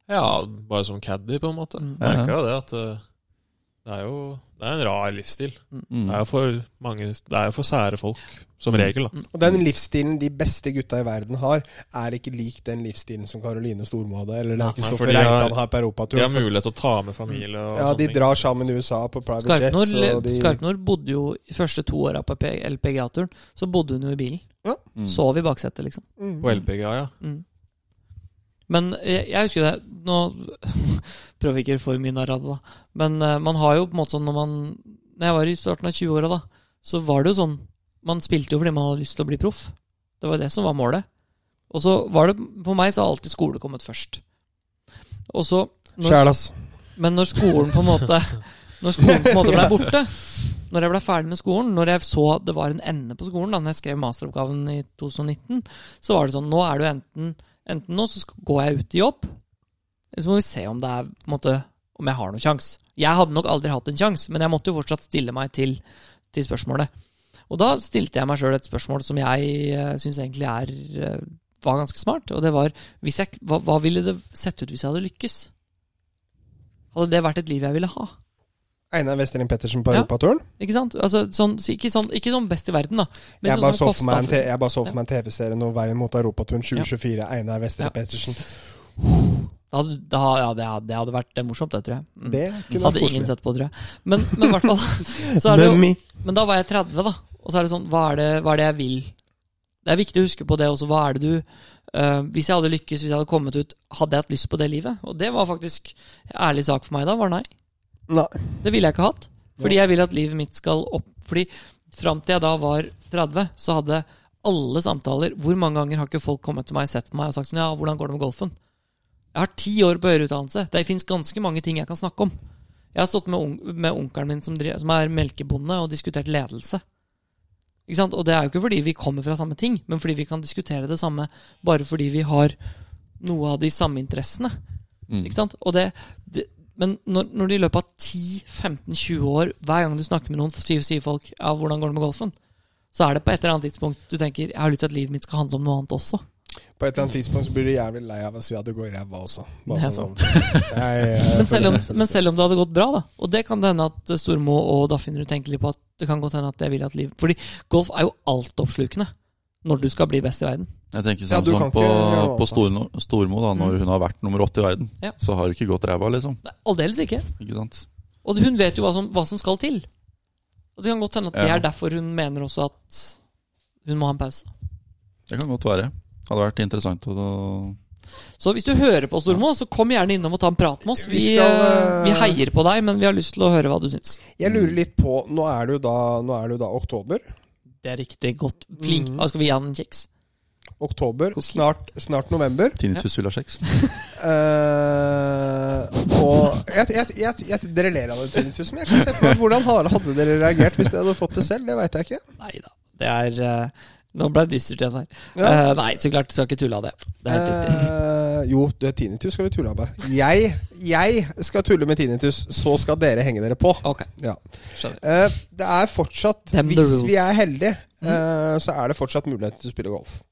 D: Ja, bare som caddy, på en måte.
B: Mm.
C: Ja, ja.
D: Merka jo det at eh, det er jo det er en rar livsstil.
C: Mm.
D: Det er jo for mange Det er jo for sære folk, som regel, da.
A: Og
B: Mm.
A: den livsstilen de beste gutta i verden har, er ikke lik den livsstilen som Karoline Stormo hadde, eller den
D: Nei,
A: Kristoffer
D: for de har-
A: Reitan har på
D: De har
A: europatur.
D: mulighet til å ta med familie
A: Ja,
D: og
A: de
D: sånne ting.
A: drar sammen i USA på private jets.
B: Skarpnor,
A: Og de,
B: Skarpnor bodde jo de første to åra på LPGA-turen. Så bodde hun jo i bilen.
C: Mm.
B: Sov i baksetet, liksom.
A: Mm.
D: På LPGA, ja.
B: Mm. Men eh, jeg, jeg husker det Nå prøver jeg ikke for mye narr av det, da. Men eh, man har jo på en måte sånn når man Når jeg var i starten av 20-åra, da, så var det jo sånn Man spilte jo fordi man hadde lyst til å bli proff. Det var det som var målet. Og så var det For meg så har alltid skole kommet først. Og så når-
A: Sjæl, ass.
B: men når skolen på en måte Når skolen på en måte ble borte Når jeg ble ferdig med skolen Når jeg så det var en ende på skolen Da når jeg skrev masteroppgaven i 2019 Så var det sånn, nå er du enten Enten nå så sk- går jeg ut i jobb Eller så må vi se om det er på en måte om jeg har noen sjans. Jeg hadde nok aldri hatt en sjans, men jeg måtte jo fortsatt stille meg til, til spørsmålet. Og da stilte jeg meg sjøl et spørsmål som jeg uh, syns egentlig er, eh, var ganske smart, og det var hvis jeg, hva, hva ville det sett ut hvis jeg hadde lykkes? Hadde det vært et liv jeg ville ha?
A: Einar Westrin Pettersen på
B: Ja.
A: Europaturen.
B: Ikke sant? Altså, sånn, så ikke, sånn, ikke sånn best i verden, da. Men
A: Jeg
B: sånn,
A: bare
B: sånn
A: så for meg en,
B: Kofstad-
A: te- jeg bare så for meg en TV-serie nå, Veien mot Europaturen 2024. Einar Westrin
B: Ja.
A: Pettersen.
B: Da hadde, da, ja, det hadde, det hadde vært morsomt, det, tror jeg. Mm.
A: Det kunne vært
B: hadde ingen
A: koselig.
B: sett på, tror jeg. Men, men i hvert fall. Så er det jo,
A: Mummy.
B: men da var jeg 30, da. Og så er det sånn, hva er det, hva er det jeg vil? Det er viktig å huske på det også. Hva er det du eh, Hvis jeg hadde lykkes, hvis jeg hadde kommet ut, hadde jeg hatt lyst på det livet? Og det var faktisk ærlig sak for meg da, var nei.
A: Nei.
B: Det ville jeg ikke hatt. Fordi jeg vil at livet mitt skal opp. Fordi fram til jeg da var 30, så hadde alle samtaler Hvor mange ganger har ikke folk kommet til meg, sett på meg og sagt sånn Ja, hvordan går det med golfen? Jeg har ti år på høyere utdannelse. Det fins ganske mange ting jeg kan snakke om. Jeg har stått med, on med onkelen min som, driver, som er melkebonde, og diskutert ledelse. Ikke sant? Og det er jo ikke fordi vi kommer fra samme ting, men fordi vi kan diskutere det samme bare fordi vi har noe av de samme interessene.
C: Mm.
B: Ikke sant? Og det, det, men når, når du i løpet av 10-15-20 år, hver gang du snakker med noen, sier, sier folk ja, 'hvordan går det med golfen', så er det på et eller annet tidspunkt du tenker 'jeg har lyst til at livet mitt skal handle om noe annet også'.
A: På et eller annet tidspunkt så blir du jævlig lei av å si at det går i ræva også.
B: Det er
A: sånn. Nei, jeg-
B: Men selv, om, men selv om det hadde gått bra, da. Og det kan det hende at eh, Stormo og Daffinrud tenker litt på at det kan godt hende at jeg vil at liv Fordi golf er jo altoppslukende når du skal bli best i verden.
C: Jeg tenker
A: Ja,
C: sånn
A: du
C: som
A: kan
C: på,
A: ikke gjøre noe
C: på
A: annet,
C: Stormo, Stormo da, når
B: Mm.
C: hun har vært nummer åtte i verden,
B: Ja.
C: så har hun ikke gått ræva, liksom.
B: Nei, Aldeles ikke.
C: Ikke sant?
B: Og hun vet jo hva som, hva som skal til. Og det kan godt hende at det
C: Ja.
B: er derfor hun mener også at hun må ha en pause.
C: Det kan godt være. Hadde vært interessant å å-
B: Så hvis du hører på, Stormo, så kom gjerne innom og ta en prat med oss. Vi,
A: Vi skal,
B: eh, vi
A: eh,
B: heier på deg, men vi har lyst til å høre hva du syns.
A: Jeg lurer litt på Nå er det jo da, nå er det jo da oktober.
B: Det er riktig godt. Flink.
A: Mhm.
B: Da Mm. skal vi gi han en kjeks.
A: Oktober, snart, snart november.
C: Tinnitus vil ha kjeks.
A: Eh, og jeg, jeg, jeg, jeg, Dere ler av det, tinnitus, men jeg kan se på hvordan har- hadde dere reagert hvis dere hadde fått det selv? Det veit jeg ikke.
B: Nei da. Det er eh, Nå ble det dystert igjen her.
A: Ja.
B: Eh, nei, så klart. Skal ikke tulle av det. Det er helt riktig.
A: Eh, jo, det er tinnitus skal vi tulle med. Jeg, jeg skal tulle med tinnitus, så skal dere henge dere på.
B: Ok,
A: Ja.
B: skjønner.
A: Eh, det er fortsatt,
B: Them the
A: hvis vi
B: rules. Mm.
A: er heldige, eh, så er det fortsatt mulighet til å spille golf.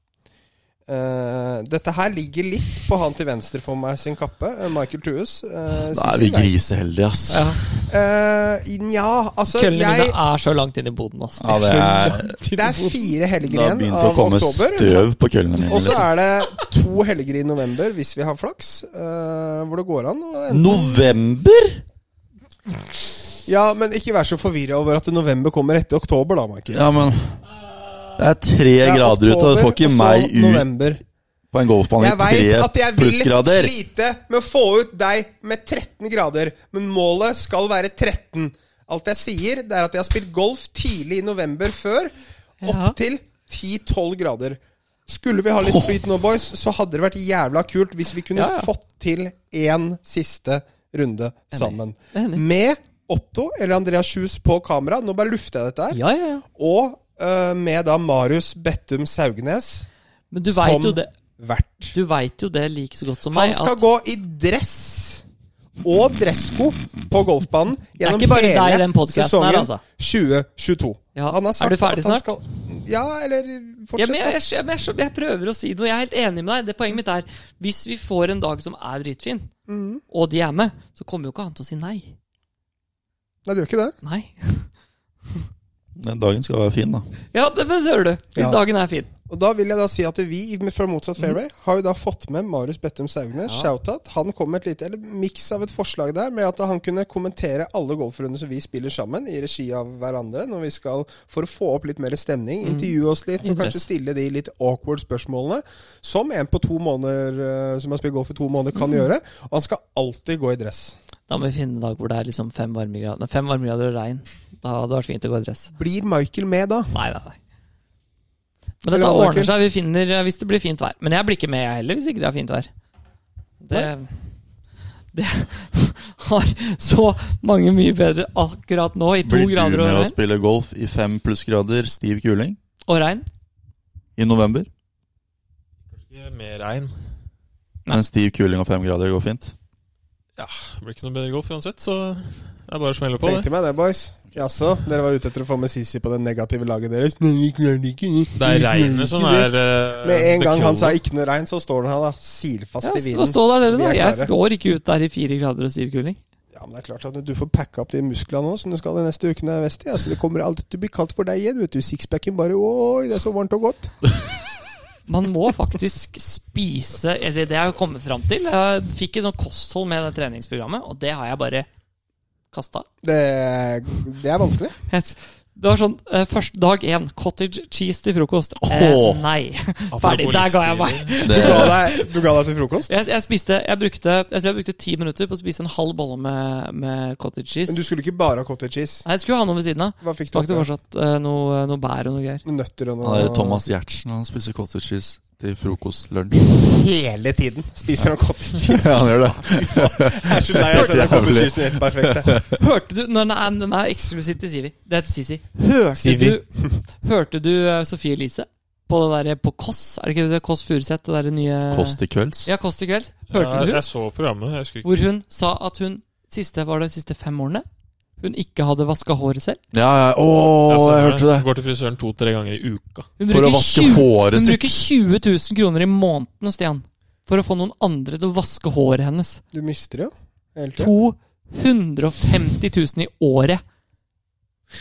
A: Eh, dette her ligger litt på han til venstre for meg sin kappe, eh, Michael Thues. eh,
C: Da
A: sin
C: er vi
A: vei.
C: griseheldige, ass.
B: Ja.
A: Eh, Nja, altså
B: Køllene
A: jeg,
B: mine er så langt inn i boden. ass.
C: Ja, det er
A: Det er fire
C: Det har
A: helger igjen
C: begynt å
A: av
C: komme
A: oktober.
C: støv på køllene mine.
A: Og så
C: Liksom.
A: er det to helger i november, hvis vi har flaks, eh, hvor det går an å enten-
C: November?!
A: Ja, men ikke vær så forvirra over at november kommer etter oktober, da, Michael.
C: Ja, men Det er tre
A: Det er
C: grader ute, og det
A: oktober,
C: får ikke
A: og så
C: meg ut
A: november.
C: på en golfbane
A: Jeg
C: i
A: veit at
C: tre
A: jeg vil
C: plussgrader.
A: slite med å få ut deg med 13 grader, men målet skal være 13. Alt jeg sier, det er at jeg har spilt golf tidlig i november før,
B: Ja.
A: opp til 10-12 grader. Skulle vi ha litt flyt nå, boys, så hadde det vært jævla kult hvis vi kunne
B: Ja, ja.
A: fått til én siste runde sammen.
B: Enig.
A: Med Otto eller Andreas Kjus på kamera. Nå bare lufter jeg dette her.
B: Ja, ja, ja.
A: Og eh, med da Marius Bettum Saugnes
B: Men du
A: Som-
B: veit jo det
A: vert.
B: Du vet jo det like så godt som
A: Han
B: meg.
A: skal
B: at
A: gå i dress og dressko på golfbanen gjennom
B: ikke bare deg i
A: hele
B: den podcasten
A: sesongen
B: her, altså.
A: 2022.
B: Ja.
A: Han har
B: Er
A: sagt
B: du ferdig
A: at han
B: snart?
A: Skal... Ja, eller
B: Ja,
A: fortsett. da.
B: men jeg, jeg, skjø- men jeg, skjø- jeg prøver å si noe. Jeg er helt enig med deg. Det Poenget mitt er hvis vi får en dag som er dritfin, og de er med, så kommer jo ikke han til å si nei.
A: Nei, du gjør ikke det.
B: Nei.
C: Den dagen skal være fin, da.
B: Ja, det, men hører du. Hvis
A: Ja.
B: dagen er fin.
A: Og da vil jeg da si at vi fra motsatt fairway har jo da fått med Marius Bettum Saugnes. Shoutout. Han kom med et lite eller miks av et forslag der med at han kunne kommentere alle golfrunder som vi spiller sammen, i regi av hverandre, når vi skal for å få opp litt mer stemning. Intervjue oss litt, og kanskje
B: Interesse.
A: stille de litt awkward spørsmålene. Som en på to måneder eh, som har spilt golf i to måneder, kan gjøre. Og han skal alltid gå i dress.
B: Da må vi finne en dag hvor det er liksom fem varmegrader Nei, fem varmegrader og regn. Da hadde det vært fint å gå i dress.
A: Blir Michael med da?
B: Nei, nei, nei. Men dette
A: Eller Martin.
B: ordner seg vi finner eh, hvis det blir fint vær. Men jeg blir ikke med, jeg heller, hvis ikke det er fint vær. Det, det har så mange mye bedre akkurat nå, i to
C: Blir du
B: grader og
C: med å
B: regn.
C: spille golf i fem plussgrader, stiv kuling,
B: Og regn.
C: i november?
D: Ikke Mer regn.
B: Nei.
C: Men stiv kuling og fem grader går fint?
D: Det blir ikke noe bedre golf uansett, så det er bare å smelle på. Det
A: Tenkte meg det, boys. Jaså, dere var ute etter å få med Sisi på det negative laget deres? Nei, vi klarer det ikke.
D: Det er regnet som er eh,
A: Med en
D: the
A: gang han
D: killer.
A: sa 'ikke noe regn', så står han her, da. Silfast
B: Ja,
A: i
B: stå,
A: vinden.
B: stå der, dere,
A: Vi
B: da.
A: er
B: Jeg
A: klare.
B: står ikke ut der i fire grader og stivkuling.
A: Ja, men det er klart at du får packa opp de musklene nå som du skal de neste ukene, Vesti. Altså, det kommer alltid til å bli kaldt for deg igjen, vet du. Sixpacken bare Oi, det er så varmt og godt.
B: Man må faktisk spise jeg sier, Det har jeg kommet fram til. Jeg fikk et sånt kosthold med det treningsprogrammet, og det har jeg bare kasta.
A: Det, det er vanskelig.
B: Det var sånn eh, først dag én cottage cheese til frokost. Eh,
C: Åh.
B: nei.
D: Apropos
B: Ferdig, der ga jeg
D: livsstil.
A: Du
C: Det,
A: ga deg, du ga deg til frokost.
B: Jeg, jeg spiste Jeg brukte Jeg tror jeg brukte ti minutter på å spise en halv bolle med, med cottage cheese.
A: Men du skulle ikke bare ha cottage cheese.
B: Nei, jeg skulle ha noe ved siden av.
A: Hva fikk du?
B: Smakte
A: oppi?
B: fortsatt eh, noe, noe bær og noe greier.
A: Noen Nøtter og
C: han er
A: noe
C: jo Thomas Giertsen. Han spiser cottage cheese til frokost, lunsj.
A: Hele tiden spiser han cottage cheese.
C: Ja, han gjør det.
A: Jeg er så lei av å se den cottage cheesen helt perfekt. jeg.
B: Hørte du Når den er, den er eksklusivt til Sivi. Det heter Sisi. Hørte
A: Sivi.
B: du Hørte du eh, Sofie Elise på det der på Kåss? Er det ikke det Kåss Furuseth? Det derre nye
C: Kåss til kvelds.
B: Ja, Kåss til kvelds. Hørte
D: Ja,
B: du hun?
D: Jeg så programmet. Jeg husker ikke.
B: Hvor hun sa at hun siste Var det de siste fem årene? Hun ikke hadde vaska håret selv.
C: Ja, ja. Ååå, jeg
D: ser
C: hørte det.
D: Går til frisøren to-tre ganger i uka.
B: Hun
C: For å
B: bruker
C: vaske
B: 20
C: håret
B: Hun
C: sitt.
B: bruker 20 000 kroner i måneden, Stian, for å få noen andre til å vaske håret hennes.
A: Du mister det jo. Hele tiden.
B: 250 000 i året.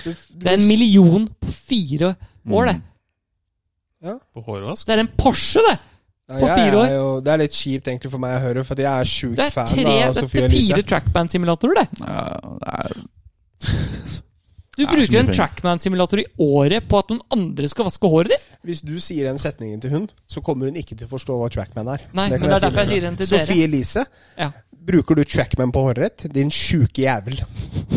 A: Du- du
B: Det er en
A: mis-
B: million på fire år, det.
D: På hårvask.
B: Det er en Porsche, det!
A: Ja,
B: på
A: jeg
B: fire år.
A: er jo- Det er litt kjipt egentlig for meg å høre, for at jeg er sjukt
B: Det er,
A: fan
B: tre,
A: av
B: det
A: Sofie
B: er fire
A: Elise.
B: trackman-simulatorer, det.
C: Ja, det er-
B: Du
C: Det er så
B: bruker
C: mye
B: en
C: penger.
B: trackman-simulator i året på at noen andre skal vaske håret ditt.
A: Hvis du sier den setningen til hun, så kommer hun ikke til å forstå hva trackman er.
B: Nei,
A: Det kan
B: men det er
A: si
B: derfor
A: dere.
B: jeg sier den til dere.
A: Sofie Elise,
B: Ja.
A: bruker du trackman på håret ditt? Din sjuke jævel.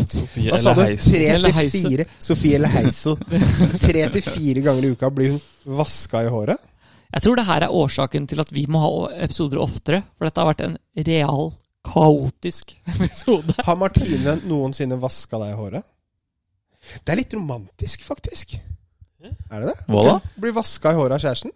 D: Sofie
A: Hva sa du? Tre
B: Eller
A: til
B: Heise.
A: fire Sofie eller Heiso. Tre til fire ganger i uka blir hun vaska i håret.
B: Jeg tror det her er årsaken til at vi må ha episoder oftere, for dette har vært en real, kaotisk episode.
A: Har Martine noensinne vaska deg i håret? Det er litt romantisk, faktisk. Er det det?
C: Hva da?
A: Blir vaska i håret av kjæresten?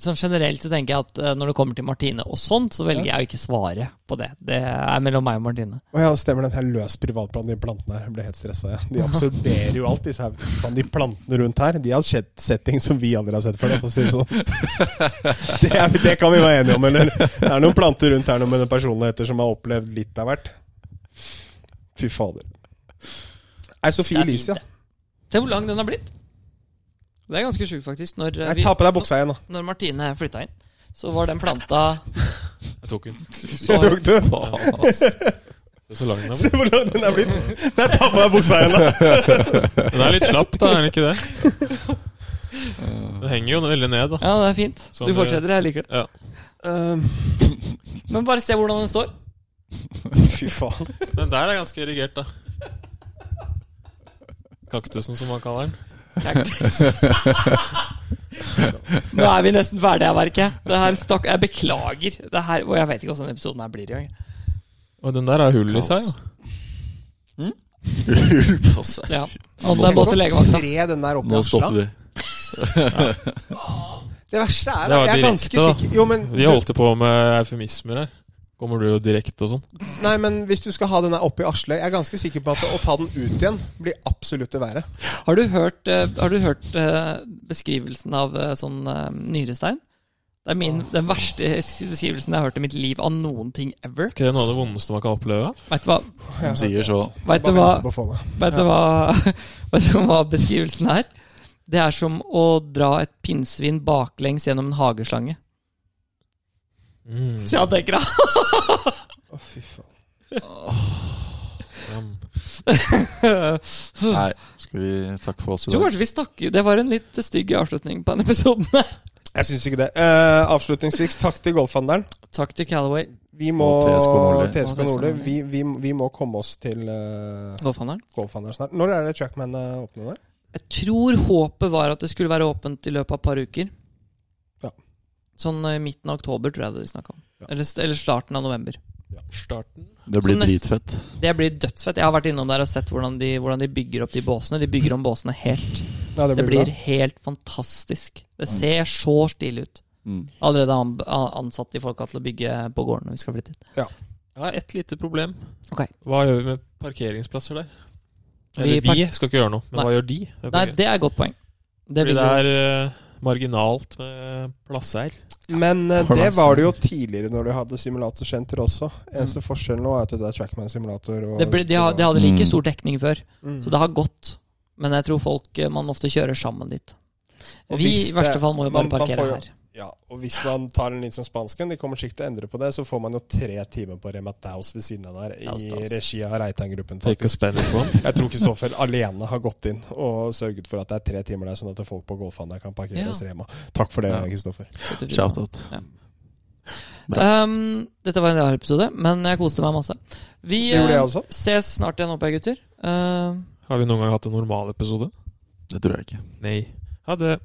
B: Sånn generelt så tenker jeg at eh, når det kommer til Martine og sånt, så velger jeg å ikke svare på det. Det er mellom meg og Martine.
A: Å ja, stemmer den her løs privatplanen, de plantene her. Jeg ble helt stressa, jeg. De absorberer jo alt, disse her. vet du. Faen, De plantene rundt her, de har sett setting som vi aldri har sett før, for å si det sånn. Det, er, det kan vi være enige om, eller? Det er noen planter rundt her nå med noen personligheter som har opplevd litt av hvert. Fy fader. Nei, Sofie
B: Det er fint,
A: Elise, ja.
B: Se hvor lang den har blitt. Det er ganske sjukt, faktisk. Når, eh,
A: Nei,
B: vi,
A: Ta på deg buksa igjen, da.
B: når Martine flytta inn, så var den planta
D: Jeg tok den.
B: så,
A: Tok du?
C: Faen, ass.
D: Det er Så lang den er.
A: Se hvor lang den er blitt. Nei, ta på deg buksa igjen, da.
D: Den er litt slapp, da, er den ikke det? Den henger jo veldig ned, da.
B: Ja, det er fint.
D: Sånn
B: Du
D: det-
B: fortsetter, jeg liker det.
D: Ja.
B: Men bare se hvordan den står.
A: Fy faen.
D: Den der er ganske erigert, da. Kaktusen, som man kaller den.
B: Nå er vi nesten ferdige her, merker jeg. Det her stakk Jeg beklager. Det her, og jeg vet ikke hvordan denne episoden her blir i gang.
D: Og den der har hull i seg, jo.
C: Hull på seg.
B: Ja. Og den må til legevakta.
A: Spre den der opp i
C: Nå
A: Asla.
C: stopper vi.
A: Det verste er
D: Det
A: at
D: var
A: jeg er
D: direkte,
A: ganske
D: da.
A: sikker Jo, men
D: Vi holdt jo på med eufemismer her. Kommer du jo direkte og sånn.
A: Nei, men hvis du skal ha den der oppe i Asløy, jeg er ganske sikker på at å ta den ut igjen blir absolutt det verre.
B: Har du hørt, eh, har du hørt eh, beskrivelsen av eh, sånn eh, nyrestein? Det er min, den verste beskrivelsen jeg har hørt i mitt liv av noen ting ever.
D: Ikke det noe av det vondeste man kan oppleve?
B: Veit du hva,
C: De sier så
B: vet du
A: Bare
B: hva,
A: vente på å få det.
B: vet du hva, vet du hva beskrivelsen er? Det er som å dra et pinnsvin baklengs gjennom en hageslange.
D: Mm.
B: Så jeg tenker da.
A: Å, fy faen.
D: jam.
B: Jeg
C: Nei, skal vi takke for oss i
B: tror
C: dag?
B: kanskje vi stakk Det var en litt stygg avslutning på denne episoden. her.
A: Jeg syns ikke det. Eh, avslutningsvis, takk til Golfhandelen.
B: Takk til Calaway.
A: Vi må
C: Og TSK Nordli.
A: TSK
B: Og
A: Nordli.
B: TSK
A: Vi, vi, vi må komme oss til eh,
B: Golfhandelen.
A: Golfhandelen snart. Når er det Trackman eh, åpner der?
B: Jeg tror håpet var at det skulle være åpent i løpet av et par uker.
A: Ja.
B: Sånn i midten av oktober, tror jeg det de snakka om. Eller, st- eller starten av november.
D: Starten.
C: Det blir
B: Så neste-
C: dritfett.
B: Det blir dødsfett. Jeg har vært innom der og sett hvordan de, hvordan de bygger opp de båsene. De bygger om båsene helt.
A: Ja, det
B: Det
A: blir,
B: blir
A: bra.
B: helt fantastisk. Det ser så stilig ut.
C: Mm.
B: Allerede an- a- ansatt de folka til å bygge på gården når vi skal flytte dit.
A: Ja.
D: Jeg har ett lite problem.
B: Ok.
D: Hva gjør vi med parkeringsplasser der?
B: Vi
D: Eller vi,
B: park-
D: skal ikke gjøre noe, men
B: Nei.
D: hva gjør de?
B: Nei, det er et godt poeng. Det
D: Fordi
B: vil
D: det
B: jo-
D: er eh, marginalt med plasser.
A: Men eh,
C: Har du
A: det
C: vært
A: var
C: sånn?
A: det jo tidligere når du hadde simulatorsenter også. Eneste forskjellen nå er at det er Trackman-simulator. og-
B: det ble, de, har, de hadde
C: Mm.
B: like stor dekning før,
A: Mm.
B: så det har gått. Men jeg tror folk eh, man ofte kjører sammen dit.
A: Og
B: Vi
A: hvis
B: i verste
A: det-
B: fall må jo
A: man-
B: bare
A: man
B: parkere
A: får jo-
B: her.
A: Ja, og hvis man tar en litt som spansken, de kommer sikkert til å endre på det, så får man jo tre timer på Rema Daus ved siden av der,
B: Daus,
A: i
B: Daus.
A: regi av Reitan-gruppen.
D: Take a
A: faktisk.
D: Spanish one.
A: Jeg tror Kristoffer alene har gått inn og sørget for at det er tre timer der, sånn at folk på Golfhandelen kan parkere
B: Ja.
A: hos Rema. Takk for det,
C: Ja.
A: Kristoffer.
B: Vet du hva?
C: Shout-out.
B: sånn. Ehm, dette var en rar episode, men jeg koste meg masse. Vi
A: Det gjorde jeg
B: eh,
A: også.
B: ses snart igjen oppe, gutter. Ehm,
D: Har vi noen gang hatt en normal episode?
C: Det tror jeg ikke.
D: Nei. Ha det.